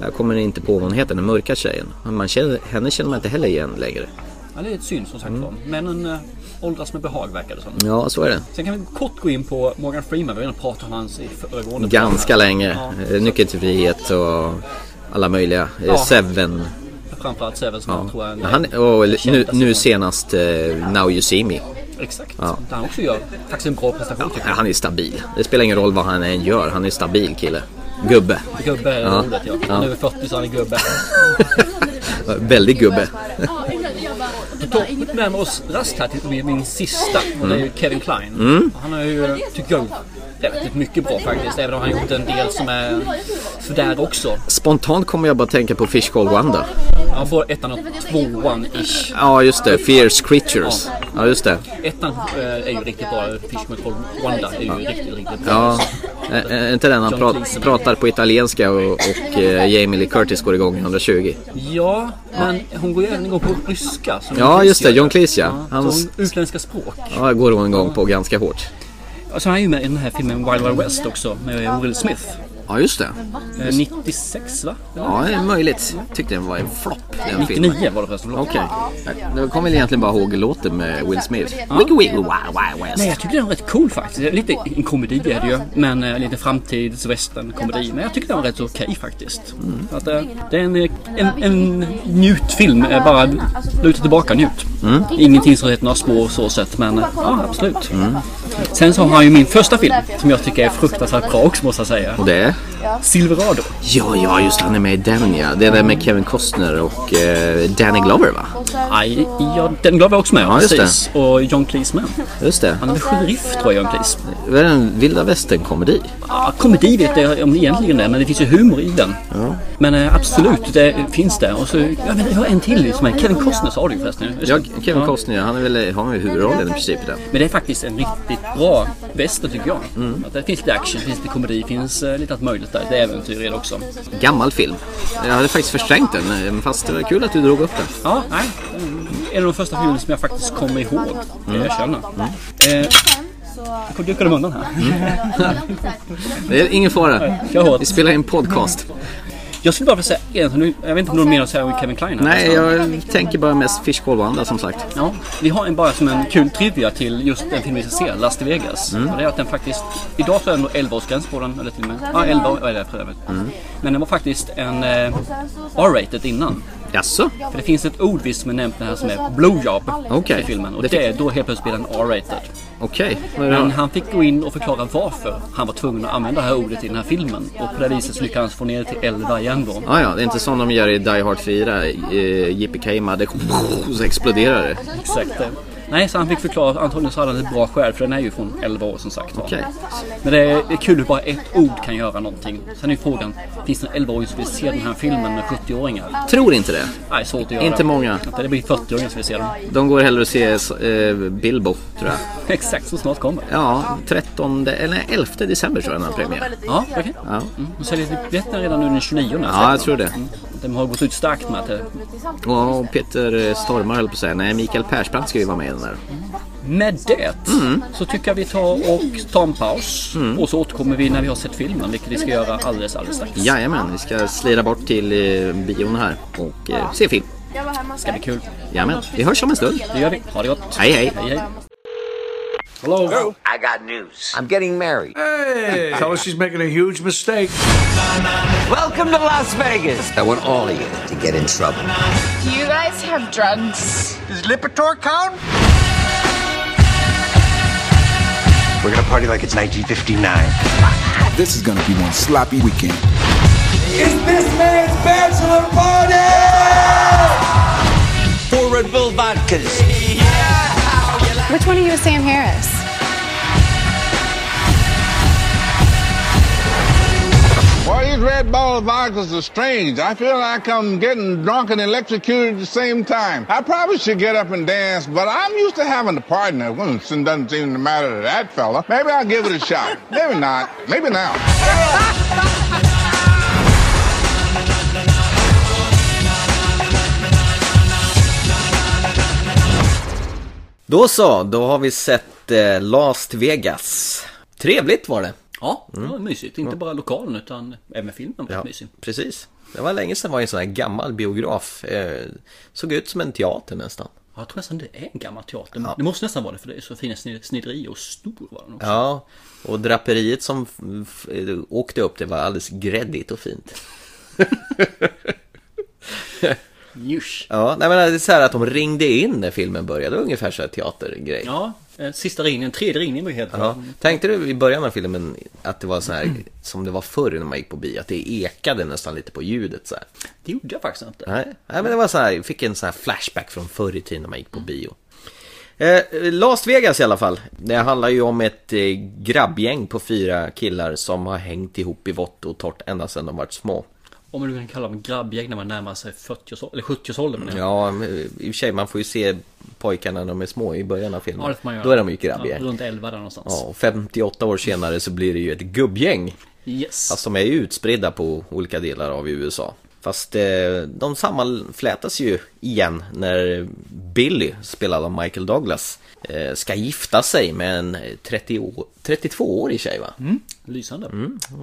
Speaker 1: Jag kommer inte på vad hon heter, den mörka tjejen. Men man känner, henne känner man inte heller igen längre.
Speaker 2: Ja, det är ett synd som sagt
Speaker 1: Mm.
Speaker 2: var. Männen eh, åldras med behag verkar det som.
Speaker 1: Ja, så är det.
Speaker 2: Sen kan vi kort gå in på Morgan Freeman. Vi har redan pratat om hans i föregående
Speaker 1: Ganska
Speaker 2: program.
Speaker 1: länge.
Speaker 2: Ja.
Speaker 1: Eh, Nyckeln till frihet och alla möjliga. eh,
Speaker 2: Ja.
Speaker 1: Seven.
Speaker 2: Framförallt Seven som jag tror är en-
Speaker 1: Han, och
Speaker 2: den
Speaker 1: nu,
Speaker 2: kändaste
Speaker 1: nu
Speaker 2: rollen.
Speaker 1: senast eh, Now You See Me. Eh,
Speaker 2: Exakt. Där han också gör faktiskt en bra prestation tycker jag.
Speaker 1: Han är stabil. Det spelar ingen roll vad han än gör. Han är stabil kille. Gubbe.
Speaker 2: Typ Gubbe är
Speaker 1: Ja.
Speaker 2: ordet ja. Han är över 40 så han är gubbe.
Speaker 1: Eh, Väldigt gubbe.
Speaker 2: Då närmar oss raskt här till min- min sista och det är ju
Speaker 1: Mm.
Speaker 2: Kevin Klein. Han har ju, tycker jag, relativt mycket bra faktiskt. Även om han har gjort en del som är sådär också.
Speaker 1: Spontant kommer jag bara tänka på Fish Called Wanda.
Speaker 2: Han får ettan och tvåan-ish.
Speaker 1: Ja, just det. Fierce Creatures. Ja, just det.
Speaker 2: Ettan eh, är ju riktigt bra. Fishman Called Wanda är ju riktigt, riktigt bra.
Speaker 1: Ja, är- är inte den han
Speaker 2: John
Speaker 1: pra-
Speaker 2: Cleese.
Speaker 1: pratar på italienska och, och eh, Jamie Lee Curtis går igång i 120.
Speaker 2: Ja, men hon går ju även igång på ryska. som
Speaker 1: Ja,
Speaker 2: John Cleese
Speaker 1: just det,
Speaker 2: gör.
Speaker 1: John Cleese, ja. Hans-
Speaker 2: Så hon- utländska språk.
Speaker 1: Ja, går hon igång på ganska hårt.
Speaker 2: Och sen är Alltså, han ju med i den här filmen Wild Wild West också med Will Smith.
Speaker 1: Ja, just det.
Speaker 2: Eh, 96 va?
Speaker 1: Ja, det är möjligt. Tyckte den var en flopp, den filmen.
Speaker 2: 99 var det förresten. förlåt.
Speaker 1: Okej. Jag kommer egentligen bara ihåg låten med Will Smith. Wiggy wiggy wild wild
Speaker 2: Nej,
Speaker 1: west.
Speaker 2: jag tyckte den var rätt cool faktiskt. Lite en komedi är det ju, men eh, lite framtidswestern-komedi. Men jag tyckte den var rätt okej faktiskt.
Speaker 1: Mm.
Speaker 2: Så Att, eh, det är en, eh, en, en njutfilm, eh, bara luta tillbaka och njut.
Speaker 1: Mm.
Speaker 2: Ingenting som heter några små så sätt, men eh, ja, absolut.
Speaker 1: Mm.
Speaker 2: Sen så har jag ju min första film, som jag tycker är fruktansvärt bra också måste jag säga.
Speaker 1: Och det?
Speaker 2: Silverado.
Speaker 1: Ja, ja, just det, han är med i den ja. Det är den med Kevin Costner och eh, Danny Glover va?
Speaker 2: Aj, ja, den gav jag också med,
Speaker 1: Ja, just det.
Speaker 2: precis. Och John Cleese med.
Speaker 1: Just det.
Speaker 2: Han är väl sheriff tror jag, John Cleese.
Speaker 1: Det är en vilda västern-komedi.
Speaker 2: Ja, komedi vet jag om det egentligen är, men det finns ju humor i den. Men eh, absolut, det finns det. Och så, ja, men jag har en till som är Kevin Costner sa du ju förresten. Just
Speaker 1: Ja,
Speaker 2: det.
Speaker 1: Kevin Costner, han är väl, har väl huvudrollen i princip i den.
Speaker 2: Men det är faktiskt en riktigt bra western tycker jag.
Speaker 1: Mm.
Speaker 2: Att det finns lite action, finns lite komedi, finns eh, lite allt möjligt där. Det är äventyr i det också.
Speaker 1: Gammal film. Jag hade faktiskt förträngt den, eh, fast det var kul att du drog upp den.
Speaker 2: Ja, nej. mm, En av de första filmerna som jag faktiskt kommer ihåg. Det jag
Speaker 1: Mm.
Speaker 2: känner. Eh, jag dukade undan här.
Speaker 1: Det är ingen fara.
Speaker 2: Kör hårt.
Speaker 1: Vi spelar in podcast.
Speaker 2: Jag skulle bara vilja säga, egentligen, jag vet inte om någon mer att säga om Kevin Klein här.
Speaker 1: Nej, jag tänker bara mest Fish Call Wanda som sagt.
Speaker 2: Ja, vi har en bara som en kul trivia till just den film vi ska se, Las de Vegas.
Speaker 1: Mm.
Speaker 2: Och det är att den faktiskt, idag så är det nog 11-årsgräns på den, eller till och med, ja 11 år är det för övrigt.
Speaker 1: Mm.
Speaker 2: Men den var faktiskt en eh, R-rated innan.
Speaker 1: Jaså?
Speaker 2: För det finns ett ord visst som är nämnt här som är blowjob
Speaker 1: Okej.
Speaker 2: i filmen. Och
Speaker 1: Det
Speaker 2: det,
Speaker 1: fick-
Speaker 2: är då helt plötsligt blir den R-rated.
Speaker 1: Okej.
Speaker 2: Men han fick gå in och förklara varför han var tvungen att använda det här ordet i den här filmen. Och på det viset så lyckades han få ner det till 11 igen då.
Speaker 1: Ah, ja, det är inte som de gör i Die Hard 4, eh, Yippee det så exploderar det.
Speaker 2: Exakt. eh. Nej, så han fick förklara att antagligen så hade han ett bra skäl för den är ju från 11 år som sagt var.
Speaker 1: Okej.
Speaker 2: Men det är kul hur bara ett ord kan göra någonting. Sen är ju frågan, finns det en 11-åring som vill se den här filmen med 70-åringar?
Speaker 1: Tror inte det.
Speaker 2: Nej, svårt att göra.
Speaker 1: Inte många.
Speaker 2: Det blir 40-åringar som vill se den.
Speaker 1: De går hellre och ser eh, Bilbo, tror jag.
Speaker 2: <laughs> Exakt, så snart kommer.
Speaker 1: Ja, 13, eller 11 december tror jag den har premiär.
Speaker 2: Ja, okej.
Speaker 1: Ja.
Speaker 2: Mm. De säljer lite biljetter redan nu den 29
Speaker 1: ja, jag tror det.
Speaker 2: De har gått ut starkt med att eh, det-
Speaker 1: Och Peter Stormare höll på att säga. Nej, Mikael Persbrandt ska ju vara med i den där.
Speaker 2: Med det
Speaker 1: Mm.
Speaker 2: så tycker jag vi tar och tar en paus. Och så återkommer vi när vi har sett filmen, vilket vi ska göra alldeles, alldeles strax.
Speaker 1: Jajamän, vi ska slira bort till eh, bion här och eh, se film.
Speaker 2: Det blir kul.
Speaker 1: Jajamän, vi hörs om en stund.
Speaker 2: Det gör vi. Ha det gott.
Speaker 1: Hej, hej.
Speaker 2: hej. Hello.
Speaker 3: I got news. I'm getting married.
Speaker 4: Hey, tell her she's making a huge mistake.
Speaker 3: Welcome to Las Vegas. I want all of you to get in trouble.
Speaker 5: Do you guys have drugs?
Speaker 3: Does Lipitor count? We're gonna party like it's 1959.
Speaker 6: This is gonna be one sloppy weekend.
Speaker 7: It's this man's bachelor party!
Speaker 3: Four Red Bull vodkas.
Speaker 8: Which one of you is Sam Harris? Red Ball vodkas are strange. I feel like I'm getting drunk and electrocuted at the same time. I probably should get up and dance, but I'm used to having a partner. Well, it doesn't seem to matter to that fella. Maybe I'll give it a shot. Maybe not. Maybe now.
Speaker 1: Då så, då har vi sett eh, Last Vegas. Trevligt var det.
Speaker 2: Ja, det var mysigt. Inte bara lokalen utan även filmen var
Speaker 1: Mm. Ja,
Speaker 2: mysig.
Speaker 1: precis. Det var länge sedan det var en sån här gammal biograf. Eh, såg ut som en teater nästan.
Speaker 2: Ja, Jag tror nästan det är en gammal teater. Det måste nästan vara det för det är så fina sned- sniderier och stor var den också.
Speaker 1: Ja, och draperiet som f- f- eh, åkte upp det var alldeles gräddigt och fint.
Speaker 2: Jusch.
Speaker 1: Ja, nej men det är så här att de ringde in när filmen började, ungefär så här teatergrej.
Speaker 2: Ja, eh, sista ringningen, tredje ringningen var ju helt
Speaker 1: Ja. Tänkte du i början av filmen att det var så här som det var förr när man gick på bio, att det ekade nästan lite på ljudet så här.
Speaker 2: Det gjorde jag faktiskt inte.
Speaker 1: Nej, nej men det var så här, jag fick en sån här flashback från förr i tiden när man gick på bio. Eh, Las Vegas i alla fall. Det handlar ju om ett eh, grabbgäng på fyra killar som har hängt ihop i vått och torrt ända sedan de varit små.
Speaker 2: Om man nu kan kalla dem grabbgäng när man närmar sig 40 eller 70-årsåldern. menar jag.
Speaker 1: Ja, men, eh, i och för sig man får ju se pojkarna när de är små i början av filmen.
Speaker 2: Ja, det får man göra.
Speaker 1: Då är de ju grabbgäng.
Speaker 2: Ja,
Speaker 1: Ja,
Speaker 2: runt 11 där någonstans.
Speaker 1: och 58 år senare så blir det ju ett gubbgäng.
Speaker 2: Yes.
Speaker 1: Fast de är ju utspridda på olika delar av USA. Fast eh, de sammanflätas ju igen när Billy, spelad av Michael Douglas, eh, ska gifta sig med en 30 å- 32-årig tjej va?
Speaker 2: Lysande.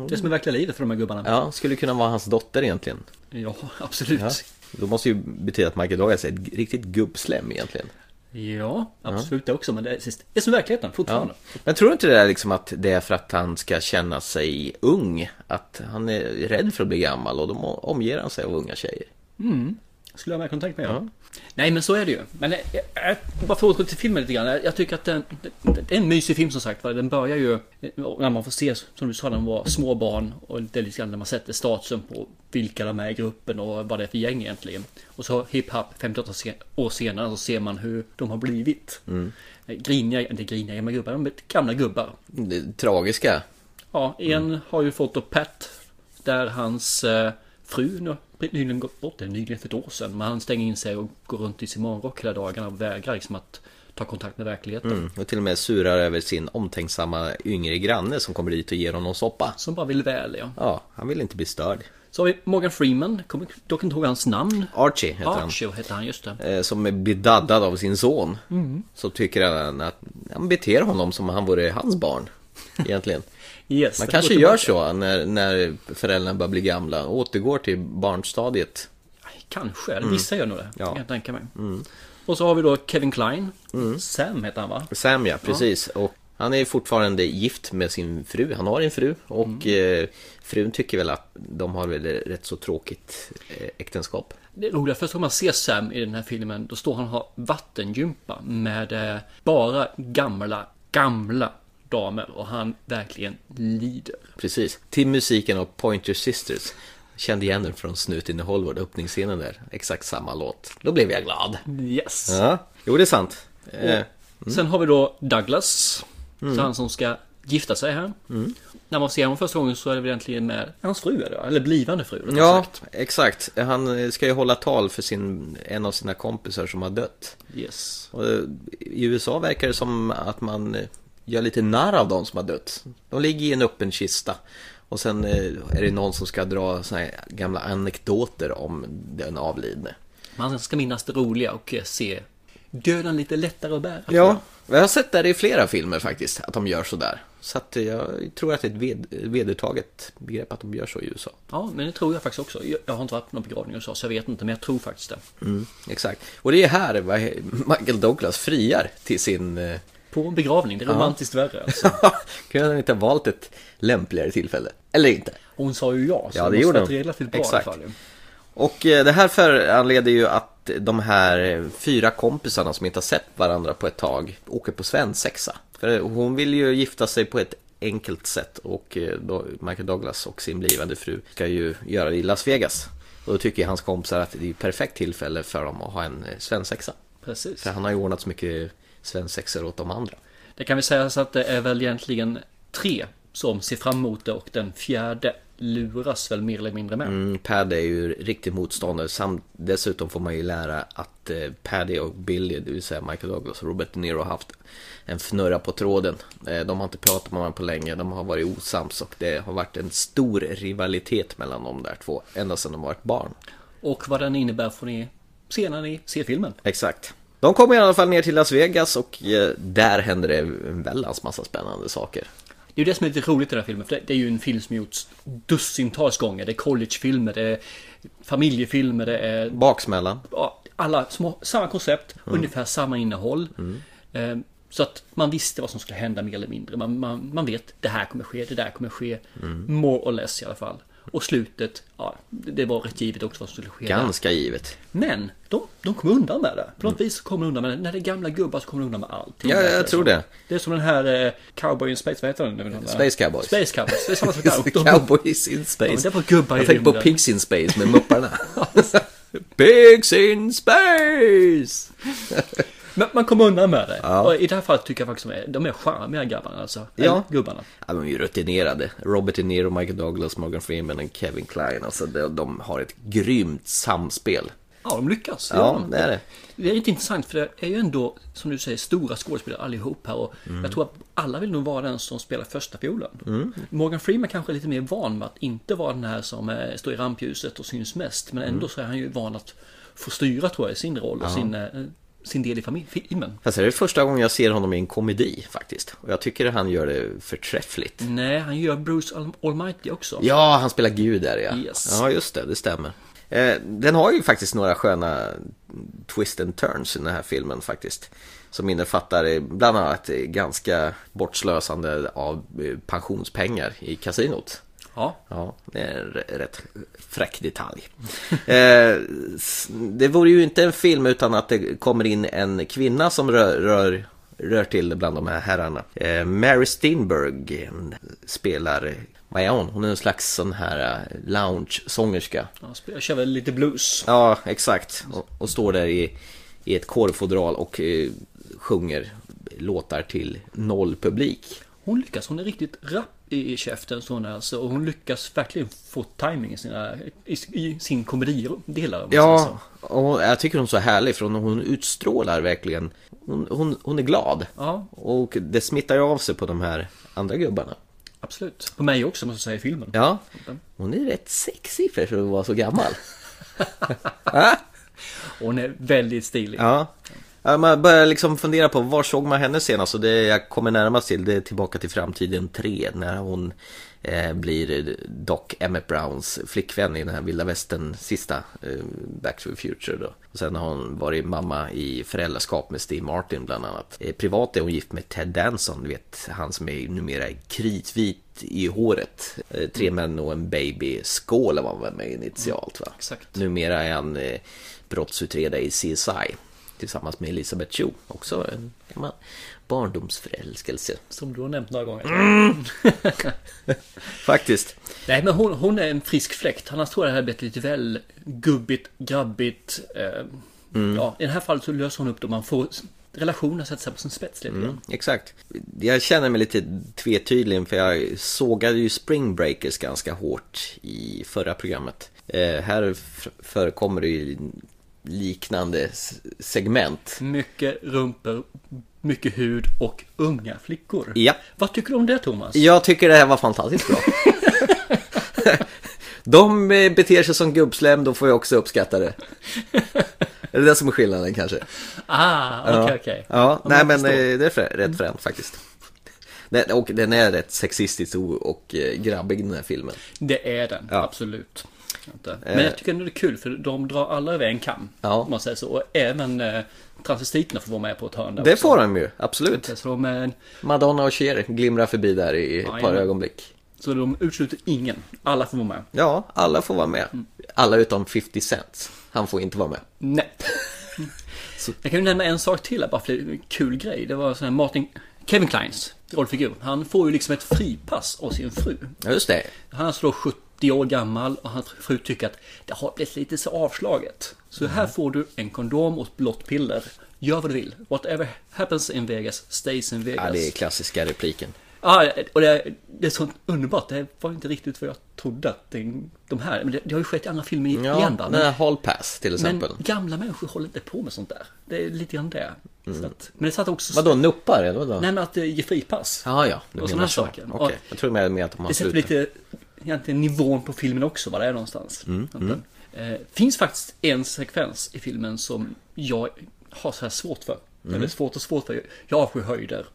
Speaker 2: Det är som är verkliga livet för de här gubbarna. Ja,
Speaker 1: Mm. Ja, skulle kunna vara hans dotter egentligen.
Speaker 2: absolut. Ja, <laughs>
Speaker 1: Då måste ju betyda att Michael Douglas är ett riktigt gubbslem egentligen.
Speaker 2: absolut det också. Men det är, sist- det är som verkligheten fortfarande.
Speaker 1: Men tror du inte det är liksom att det är för att han ska känna sig ung? Att han är rädd för att bli gammal och då må- omger han sig av unga tjejer.
Speaker 2: Skulle jag ha mer kontakt med ja. Nej men så är det ju. Men eh, eh, bara för att återgå till filmen lite grann. Eh, Jag jag tycker att den, det- det är en mysig film som sagt. va. Den börjar ju eh, när man får se som du sa när man var små barn. Och det är lite grann när man sätter statusen på vilka de är i gruppen och vad det är för gäng egentligen. Och så hip hop 58 se- år senare så ser man hur de har blivit. Mm. Griniga, inte griniga gamla gubbar, de är gamla gubbar.
Speaker 1: Det är tragiska.
Speaker 2: Ja, en har ju fått upp Pat. Där hans eh, fru nu, nyligen gått bort, det är nyligen för ett år sedan. Men han stänger in sig och går runt i sin morgonrock hela dagarna och vägrar liksom att ta kontakt med verkligheten.
Speaker 1: Mm. Och till och med surar över sin omtänksamma yngre granne som kommer dit och ger honom soppa.
Speaker 2: Som bara vill väl ja.
Speaker 1: Ja, han vill inte bli störd.
Speaker 2: Så har vi Morgan Freeman, kommer dock inte ihåg hans namn.
Speaker 1: Archie heter
Speaker 2: Archie Mm. hette han, just det.
Speaker 1: han. eh, Som blir daddad av sin son. Så tycker han att han beter honom som om han vore hans
Speaker 2: <laughs>
Speaker 1: barn. Egentligen.
Speaker 2: Yes,
Speaker 1: Man
Speaker 2: det
Speaker 1: kanske
Speaker 2: går
Speaker 1: gör
Speaker 2: tillbaka.
Speaker 1: så när, när föräldrarna börjar bli gamla och återgår till barnstadiet.
Speaker 2: Kanske, eller vissa gör nog det.
Speaker 1: Mm. Ja. Mm.
Speaker 2: Kan jag tänka mig. Och så har vi då Kevin Klein. Sam heter han va?
Speaker 1: Sam ja, precis. Och han är fortfarande gift med sin fru. Han har en fru och
Speaker 2: Mm.
Speaker 1: eh, frun tycker väl att de har väl rätt så tråkigt eh, äktenskap.
Speaker 2: Det är roligt, första gången man ser Sam i den här filmen, då står han och har vattengympa med eh, bara gamla, gamla damer och han verkligen lider.
Speaker 1: Precis. Till musiken av Pointer Sisters. Kände igen den från Snuten i Hollywood, öppningsscenen där. Exakt samma låt. Då blev jag glad.
Speaker 2: Yes!
Speaker 1: Ja, jo det är sant. Eh,
Speaker 2: Sen har vi då Douglas, så han som ska gifta sig här. När man ser honom första gången så är det väl egentligen med hans fru, eller, eller blivande fru. rättare
Speaker 1: ja,
Speaker 2: sagt.
Speaker 1: exakt. Han eh, ska ju hålla tal för sin, en av sina kompisar som har dött.
Speaker 2: Yes.
Speaker 1: Och eh, I USA verkar det som att man eh, gör lite narr av de som har dött. De ligger i en öppen kista. Och sen eh, är det någon som ska dra såna här gamla anekdoter om den avlidne.
Speaker 2: Man ska minnas det roliga och eh, se döden lite lättare att bära.
Speaker 1: Ja, jag har sett det i flera filmer faktiskt, att de gör sådär. Så att jag tror att det är ett ved- vedertaget begrepp att de gör så i USA.
Speaker 2: ja, men det tror jag faktiskt också. Jag- Jag har inte varit på någon begravning och så, så jag vet inte, men jag tror faktiskt det.
Speaker 1: Exakt. Och det är här vad he- Michael Douglas friar till sin... eh, <laughs>
Speaker 2: På en begravning, det är romantiskt värre alltså.
Speaker 1: Kunde han inte ha valt ett lämpligare tillfälle? Eller inte.
Speaker 2: Hon sa ju ja, så
Speaker 1: Ja, det
Speaker 2: måste
Speaker 1: gjorde
Speaker 2: varit
Speaker 1: hon.
Speaker 2: relativt bra
Speaker 1: Exakt.
Speaker 2: i alla fall. ju.
Speaker 1: Och eh, det här föranleder ju att de här eh, fyra kompisarna som inte har sett varandra på ett tag åker på svensexa. För eh, hon vill ju gifta sig på ett enkelt sätt och eh, då- Michael Douglas och sin blivande fru ska ju göra det i Las Vegas. Och då tycker hans kompisar att det är ett perfekt tillfälle för dem att ha en eh, svensexa.
Speaker 2: Precis.
Speaker 1: För han har ju ordnat så mycket svensexor åt de andra.
Speaker 2: Det kan vi säga så att det är väl egentligen tre som ser fram emot det och den fjärde luras väl mer eller mindre med.
Speaker 1: Mm, Paddy är ju riktigt motståndare. Samt, dessutom får man ju lära att eh, Paddy och Billy, det vill säga Michael Douglas och Robert De Niro har haft en fnurra på tråden. Eh, de har inte pratat med varandra på länge, de har varit osams och det har varit en stor rivalitet mellan de där två ända sedan de var ett barn.
Speaker 2: Och vad den innebär får ni se när ni ser filmen.
Speaker 1: Exakt. De kommer i alla fall ner till Las Vegas och eh, där händer det en väldans massa spännande saker.
Speaker 2: Det är ju det som är lite roligt i den här filmen. För det, det är ju en film som gjorts dussintals gånger. Det är collegefilmer, det är familjefilmer, det är
Speaker 1: Baksmälla.
Speaker 2: ja, alla små, samma koncept, ungefär samma innehåll.
Speaker 1: Mm.
Speaker 2: Eh, Så att man visste vad som skulle hända mer eller mindre. Man, man, man vet, det här kommer ske, det där kommer ske.
Speaker 1: Mm.
Speaker 2: More or less i alla fall. Och slutet, ja, det det var rätt givet också vad som skulle ske. där.
Speaker 1: Ganska givet.
Speaker 2: Men de, de kom undan med det. På något vis kom de undan med det. När det är gamla gubbar så kommer de undan med allting.
Speaker 1: Ja,
Speaker 2: Det
Speaker 1: jag
Speaker 2: är
Speaker 1: tror
Speaker 2: som-
Speaker 1: det.
Speaker 2: Det är som den här eh, Cowboy in Space, vad heter den? nu?
Speaker 1: Space Cowboys.
Speaker 2: Space Cowboys, det
Speaker 1: <laughs>
Speaker 2: är samma sak där. Och de-
Speaker 1: Cowboys in space.
Speaker 2: Ja, men det var gubbar i
Speaker 1: jag tänkte på
Speaker 2: rymden.
Speaker 1: Pigs in space med
Speaker 2: <laughs>
Speaker 1: Mupparna. Pigs in space!
Speaker 2: Men man kommer undan med det. Och i det här fallet tycker jag faktiskt att de är charmiga grabbarna alltså.
Speaker 1: Ja.
Speaker 2: Ja. Gubbarna.
Speaker 1: Ja, de är ju rutinerade. Robert De Niro, Michael Douglas, Morgan Freeman och Kevin Kline. Alltså, de, de har ett grymt samspel. Mm.
Speaker 2: Ja, de lyckas. Det gör
Speaker 1: Ja,
Speaker 2: de.
Speaker 1: det är det.
Speaker 2: Det är lite intressant för det är ju ändå, som du säger, stora skådespelare allihop här. Och
Speaker 1: Mm.
Speaker 2: Jag tror att alla vill nog vara den som spelar första fiolen. Morgan Freeman kanske är lite mer van med att inte vara den här som eh, står i rampljuset och syns mest. Men ändå
Speaker 1: Mm.
Speaker 2: så är han ju van att få styra tror jag, sin roll och sin, eh, sin del i famil- filmen.
Speaker 1: Fast det är första gången jag ser honom i en komedi faktiskt. Och jag tycker att han gör det förträffligt.
Speaker 2: Nej, han gör Bruce Al- Almighty också.
Speaker 1: Ja, han spelar gud där ja.
Speaker 2: Yes.
Speaker 1: Ja, just det, det stämmer. Eh, den har ju faktiskt några sköna twist and turns i den här filmen faktiskt. Som innefattar eh, bland annat eh, ganska bortslösande av eh, pensionspengar i kasinot.
Speaker 2: Ja.
Speaker 1: Ja, det är en r- rätt fräck detalj. <laughs> Eh, s- det vore ju inte en film utan att det kommer in en kvinna som rör, rör, rör till det bland de här herrarna. Eh, Mary Steenburg en- spelar, vad är hon? Hon är en slags sån här eh, lounge-sångerska.
Speaker 2: Han spelar, kör väl lite blues.
Speaker 1: Ja, exakt. Och, och står där i, i ett korfodral och eh, sjunger låtar till noll publik.
Speaker 2: Hon lyckas, hon är riktigt rapp i i käften så hon är alltså, och hon lyckas verkligen få timing i, sina, i, i sin komedidelar. om man säger så.
Speaker 1: Ja, och jag tycker hon är så härlig för hon, hon utstrålar verkligen hon, hon, hon är glad
Speaker 2: Ja.
Speaker 1: Och det smittar ju av sig på de här andra gubbarna
Speaker 2: Absolut. På mig också måste jag säga i filmen.
Speaker 1: Ja Hon är rätt sexig för att vara så gammal
Speaker 2: Och hon är väldigt stilig.
Speaker 1: Ja Ja, man börjar liksom fundera på var såg man henne senast och det jag kommer närmast till det är Tillbaka till framtiden 3 när hon eh, blir Doc Emmett Browns flickvän i den här vilda västern sista eh, Back to the Future då. Och sen har hon varit mamma i föräldraskap med Steve Martin bland annat. Eh, privat är hon gift med Ted Danson, du vet han som är numera kritvit i håret. Eh, tre män och en baby, Skål var han väl med initialt va?
Speaker 2: Exakt.
Speaker 1: Numera är han eh, brottsutredare i CSI tillsammans med Elisabeth Chu. Också en gammal barndomsförälskelse.
Speaker 2: Som du har nämnt några gånger.
Speaker 1: Faktiskt.
Speaker 2: Nej men hon, hon är en frisk fläkt. Annars tror jag det här blivit lite väl gubbigt, grabbigt. Eh,
Speaker 1: Mm.
Speaker 2: Ja, i det här fallet så löser hon upp det. Man får relationer sätter sig på sin spets lite grann.
Speaker 1: Exakt. Jag känner mig lite tvetydlig för jag sågade ju Spring Breakers ganska hårt i förra programmet. Eh, här f- förekommer det ju liknande s- segment.
Speaker 2: Mycket rumpor, mycket hud och unga flickor.
Speaker 1: Ja.
Speaker 2: Vad tycker du om det Thomas?
Speaker 1: Jag tycker det här var fantastiskt
Speaker 2: <laughs>
Speaker 1: bra. De eh, beter sig som gubbslem, då får jag också uppskatta det. Är det det som är skillnaden kanske?
Speaker 2: Ah, okej
Speaker 1: Ja.
Speaker 2: okej.
Speaker 1: Ja, nej
Speaker 2: jag
Speaker 1: men
Speaker 2: förstår. Mm.
Speaker 1: eh, det är frä, rätt fränt faktiskt. Den, och den är rätt sexistisk och, och eh, grabbig den här filmen.
Speaker 2: Det är den,
Speaker 1: Ja. Eh.
Speaker 2: absolut. Inte. Men jag tycker ändå det är kul för de drar alla över en kam.
Speaker 1: Ja.
Speaker 2: Om man säger så. Och även eh, transvestiterna får vara med på ett hörn där
Speaker 1: Det
Speaker 2: också.
Speaker 1: får de ju, absolut.
Speaker 2: Så de, eh,
Speaker 1: Madonna och Cher glimrar förbi där i ett par
Speaker 2: Jajamän.
Speaker 1: ögonblick.
Speaker 2: så de utesluter ingen. Alla får vara med.
Speaker 1: Ja, alla får vara med.
Speaker 2: Mm.
Speaker 1: Alla utom 50 Cent. Han får inte vara med.
Speaker 2: <laughs> Nej. Jag kan ju nämna en sak till här, bara för det är en kul grej. Det var sån här Martin Kevin Kleins rollfigur. Han får ju liksom ett fripass av sin fru.
Speaker 1: Ja, just det.
Speaker 2: Han är alltså då 70 år gammal och hans fru tycker att det har blivit lite så avslaget. Så här
Speaker 1: Mm.
Speaker 2: får du en kondom och ett blått piller. Gör vad du vill. Whatever happens in Vegas stays in Vegas.
Speaker 1: Ja, det är klassiska repliken.
Speaker 2: Ja, och det, det är så underbart. Det var inte riktigt vad jag trodde att det, de här... Men det, det har ju skett i andra filmer
Speaker 1: Ja,
Speaker 2: igen va?
Speaker 1: den
Speaker 2: Men,
Speaker 1: där Hall Pass till
Speaker 2: men
Speaker 1: exempel.
Speaker 2: gamla människor håller inte på med sånt där. Det är lite grann det. Så att, men det satt också...
Speaker 1: Mm. Vadå, nuppar eller vadå?
Speaker 2: Nej men att eh, ge fripass.
Speaker 1: Ja, ja. Du
Speaker 2: Och
Speaker 1: menar
Speaker 2: sådana
Speaker 1: så.
Speaker 2: saker.
Speaker 1: Okej, jag tror mer, mer att de har
Speaker 2: Det sätter
Speaker 1: slutat.
Speaker 2: lite egentligen nivån på filmen också, var det är någonstans.
Speaker 1: Mm,
Speaker 2: Egentligen. Eh, finns faktiskt en sekvens i filmen som jag har så här svårt för.
Speaker 1: Mm.
Speaker 2: Eller svårt och svårt för. Jag avskyr höjder.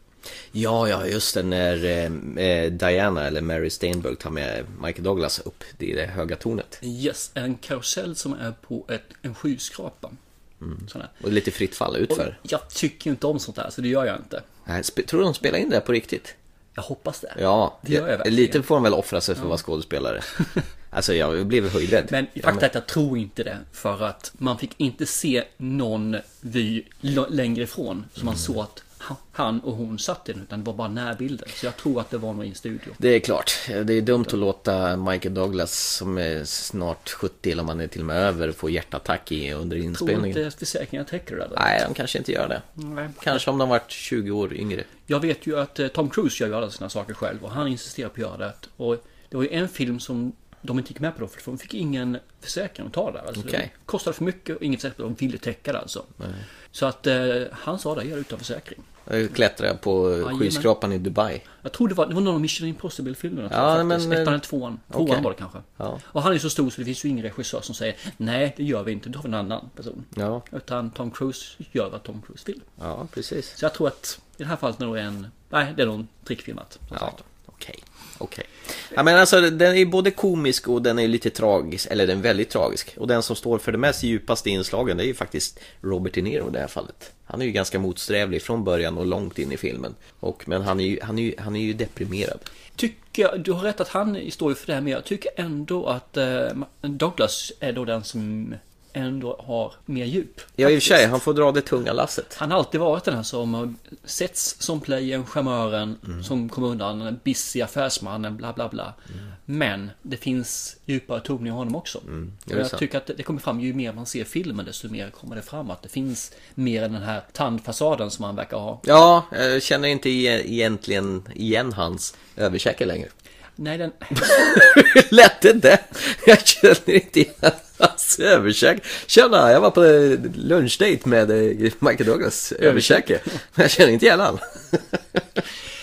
Speaker 1: Ja, ja, just det. När eh, eh, Diana eller Mary Steinberg tar med Michael Douglas upp i det höga tornet.
Speaker 2: Yes, en karusell som är på ett, en skyskrapa.
Speaker 1: Mm.
Speaker 2: Sån här.
Speaker 1: Och lite fritt fall
Speaker 2: Och
Speaker 1: utför.
Speaker 2: jag tycker inte om sånt här, så det gör jag inte.
Speaker 1: Nej, spe- Tror du de spelar in det här på riktigt?
Speaker 2: Jag hoppas det.
Speaker 1: Ja,
Speaker 2: det gör jag verkligen.
Speaker 1: lite får de väl offra sig för att vara skådespelare. <laughs> alltså jag blev höjdrädd.
Speaker 2: Men
Speaker 1: Ja,
Speaker 2: fakta är att jag tror inte det. För att man fick inte se någon vy l- längre ifrån. Så
Speaker 1: Mm.
Speaker 2: man såg att ha- han och hon satt i den. Utan det var bara närbilder. Så jag tror att det var nog i en studio.
Speaker 1: Det är klart. Det är dumt att låta Michael Douglas, som är snart 70 eller om han är till och med över, få hjärtattack i under
Speaker 2: Tror
Speaker 1: inspelningen.
Speaker 2: inte försäkringen täcker det där.
Speaker 1: Nej, de kanske inte gör det. Kanske om de varit 20 år yngre.
Speaker 2: Jag vet ju att eh, Tom Cruise gör ju alla sina saker själv. Och han insisterar på att göra det. Och det var ju en film som de inte gick med på då. För de fick ingen försäkring att ta där. Alltså,
Speaker 1: Okej.
Speaker 2: Det kostade för mycket och ingen försäkring. De ville täcka det alltså. Så att eh, han sa det, gör det utan försäkring.
Speaker 1: Jag Klättrade på
Speaker 2: Jajamän.
Speaker 1: skyskrapan i Dubai.
Speaker 2: Jag tror det var, det var någon av Mission Impossible-filmerna.
Speaker 1: Ja,
Speaker 2: tror jag faktiskt.
Speaker 1: men- eh,
Speaker 2: Ettan eller tvåan. Tvåan
Speaker 1: Okej.
Speaker 2: var det kanske.
Speaker 1: Ja.
Speaker 2: Och han är så stor så det finns ju ingen regissör som säger Nej, det gör vi inte. Då har vi en annan person.
Speaker 1: Ja.
Speaker 2: Utan Tom Cruise gör vad Tom Cruise vill.
Speaker 1: Ja, precis.
Speaker 2: Så jag tror att i det här fallet är det nog en... Nej, det är nog en trickfilmat. som
Speaker 1: Ja,
Speaker 2: sagt.
Speaker 1: okej. Okej. Ja, men alltså den är både komisk och den är lite tragisk, eller den är väldigt tragisk. Och den som står för de mest djupaste inslagen det är ju faktiskt Robert De Niro i det här fallet. Han är ju ganska motsträvlig från början och långt in i filmen. Och, men han är, ju, han, är ju, han är ju deprimerad.
Speaker 2: Tycker jag, du har rätt att han står ju för det här men jag tycker ändå att eh, Douglas är då den som ändå har mer djup.
Speaker 1: Ja, i och för sig, han får dra det tunga lasset.
Speaker 2: Han har alltid varit den här som har setts som playern, charmören,
Speaker 1: Mm.
Speaker 2: som kommer undan, den busy affärsmannen, bla bla bla. Men det finns djupare toner i honom också.
Speaker 1: Mm. det
Speaker 2: Och
Speaker 1: är
Speaker 2: jag
Speaker 1: sant.
Speaker 2: tycker att det- det kommer fram, ju mer man ser filmen, desto mer kommer det fram att det finns mer än den här tandfasaden som han verkar ha.
Speaker 1: Ja, jag känner inte igen- egentligen igen hans överkäke längre.
Speaker 2: Nej, den... <laughs>
Speaker 1: <laughs> Lätt inte! Jag känner inte igen hans överkäke. Tjena, jag var på eh, lunchdate med eh, Michael Douglas överkäke. Men jag känner inte igen han. <laughs>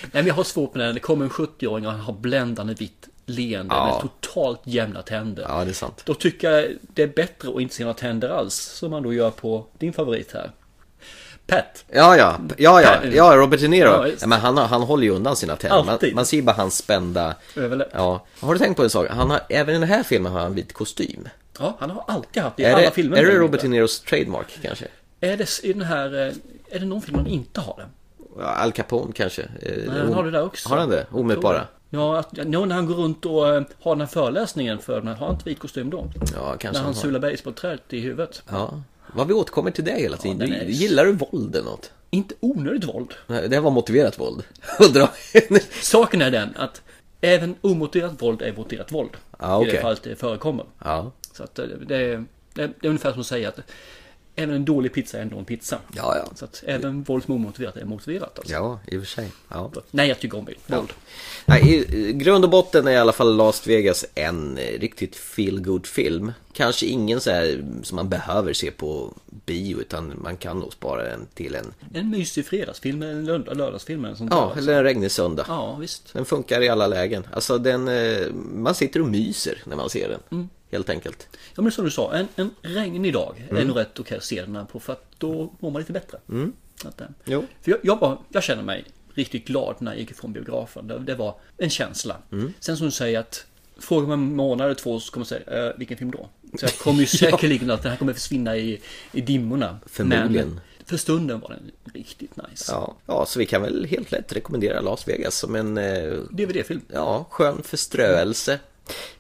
Speaker 2: Nej, men jag har svårt med den. Det kommer en 70-åring och han har bländande vitt leende
Speaker 1: Ja.
Speaker 2: med totalt jämna tänder.
Speaker 1: Ja, det är sant.
Speaker 2: Då tycker jag det är bättre att inte se några tänder alls, som man då gör på din favorit här. Pat.
Speaker 1: Ja, ja, ja, ja, ja Robert De Niro.
Speaker 2: Ja,
Speaker 1: Ja,
Speaker 2: just.
Speaker 1: men han, har- han håller ju undan sina tänder. Man,
Speaker 2: Alltid.
Speaker 1: man ser ju bara hans spända...
Speaker 2: Överläpp.
Speaker 1: Ja. Har du tänkt på en sak? Han har, även i den här filmen har han vit kostym.
Speaker 2: Ja, han har alltid haft det i
Speaker 1: Är
Speaker 2: alla
Speaker 1: det,
Speaker 2: filmer.
Speaker 1: är
Speaker 2: med
Speaker 1: det
Speaker 2: den
Speaker 1: Robert De
Speaker 2: gubben.
Speaker 1: Niros trademark kanske?
Speaker 2: Är det, i den här, eh, är det någon film han inte har det?
Speaker 1: Al Capone kanske? Eh,
Speaker 2: Nej, han har det där också.
Speaker 1: Har han det? Omedelbara?
Speaker 2: Ja, att, ja, när han går runt och eh, har den här föreläsningen för den här, har han inte vit kostym då?
Speaker 1: Ja, kanske
Speaker 2: När
Speaker 1: han
Speaker 2: han
Speaker 1: har.
Speaker 2: sular basebollträdet i huvudet.
Speaker 1: Ja. Vad vi återkommer till det hela tiden.
Speaker 2: den
Speaker 1: Du-
Speaker 2: är-
Speaker 1: Gillar du våld eller något?
Speaker 2: Inte onödigt våld.
Speaker 1: Nej, Det här var motiverat våld. <laughs> Undrar-
Speaker 2: Saken är den att även omotiverat våld är motiverat våld.
Speaker 1: Ja,
Speaker 2: I
Speaker 1: Ah, okej.
Speaker 2: det fallet det förekommer.
Speaker 1: ja.
Speaker 2: Så att eh, det, är, det är ungefär som att säga att även en dålig pizza är ändå en pizza.
Speaker 1: Ja, ja.
Speaker 2: Så att även våld som är omotiverat är motiverat alltså.
Speaker 1: ja, i och för sig. Ja.
Speaker 2: Nej, jag tycker om våld.
Speaker 1: Nej, i, I grund och botten är i alla fall Las Vegas en eh, riktigt feel good film Kanske ingen så här som man behöver se på bio utan man kan nog spara den till en...
Speaker 2: En mysig fredagsfilm, en lörd- lördagsfilm eller något sånt där,
Speaker 1: Ja,
Speaker 2: alltså.
Speaker 1: eller en regnig söndag.
Speaker 2: Ja, visst.
Speaker 1: Den funkar i alla lägen. Alltså den... eh, Man sitter och myser när man ser den. Helt enkelt.
Speaker 2: Ja, men som du sa, en, en regnig dag
Speaker 1: Mm.
Speaker 2: är nog rätt okej att se den här på för att då mår man lite bättre. Att, eh,
Speaker 1: Jo.
Speaker 2: För jag, jag, var, jag känner mig riktigt glad när jag gick ifrån biografen. Det, det var en känsla.
Speaker 1: Mm.
Speaker 2: Sen som du säger att Frågar man en månad eller två så kommer jag säga, eh, vilken film då?
Speaker 1: <laughs>
Speaker 2: Så jag kommer ju säkerligen att den här kommer försvinna i, i dimmorna.
Speaker 1: Förmodligen.
Speaker 2: Men för stunden var den riktigt nice.
Speaker 1: Ja. ja, så vi kan väl helt lätt rekommendera Las Vegas som en eh,
Speaker 2: DVD-film.
Speaker 1: ja, skön förströelse.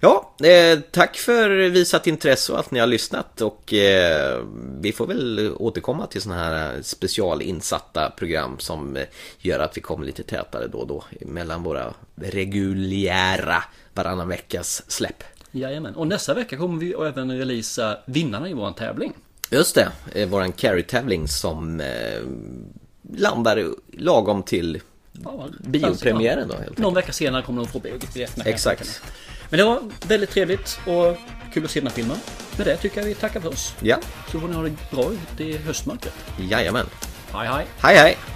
Speaker 1: Ja, eh, tack för visat intresse och att ni har lyssnat och eh, vi får väl återkomma till sådana här specialinsatta program som eh, gör att vi kommer lite tätare då och då mellan våra reguljära varannan veckas släpp.
Speaker 2: Jajamän. Och nästa vecka kommer vi även releasa vinnarna i vår tävling.
Speaker 1: Just det, eh, våran carry-tävling som eh, landar lagom till
Speaker 2: Ja,
Speaker 1: Biopremiären då, helt enkelt.
Speaker 2: Någon vecka senare kommer de få biljetterna.
Speaker 1: Exakt.
Speaker 2: Men det var väldigt trevligt och kul att se den här filmen. Med det tycker jag vi tackar för oss.
Speaker 1: Ja,
Speaker 2: Så får ni ha det bra ute i höstmörkret.
Speaker 1: jajamän.
Speaker 2: Hej hej!
Speaker 1: Hej hej!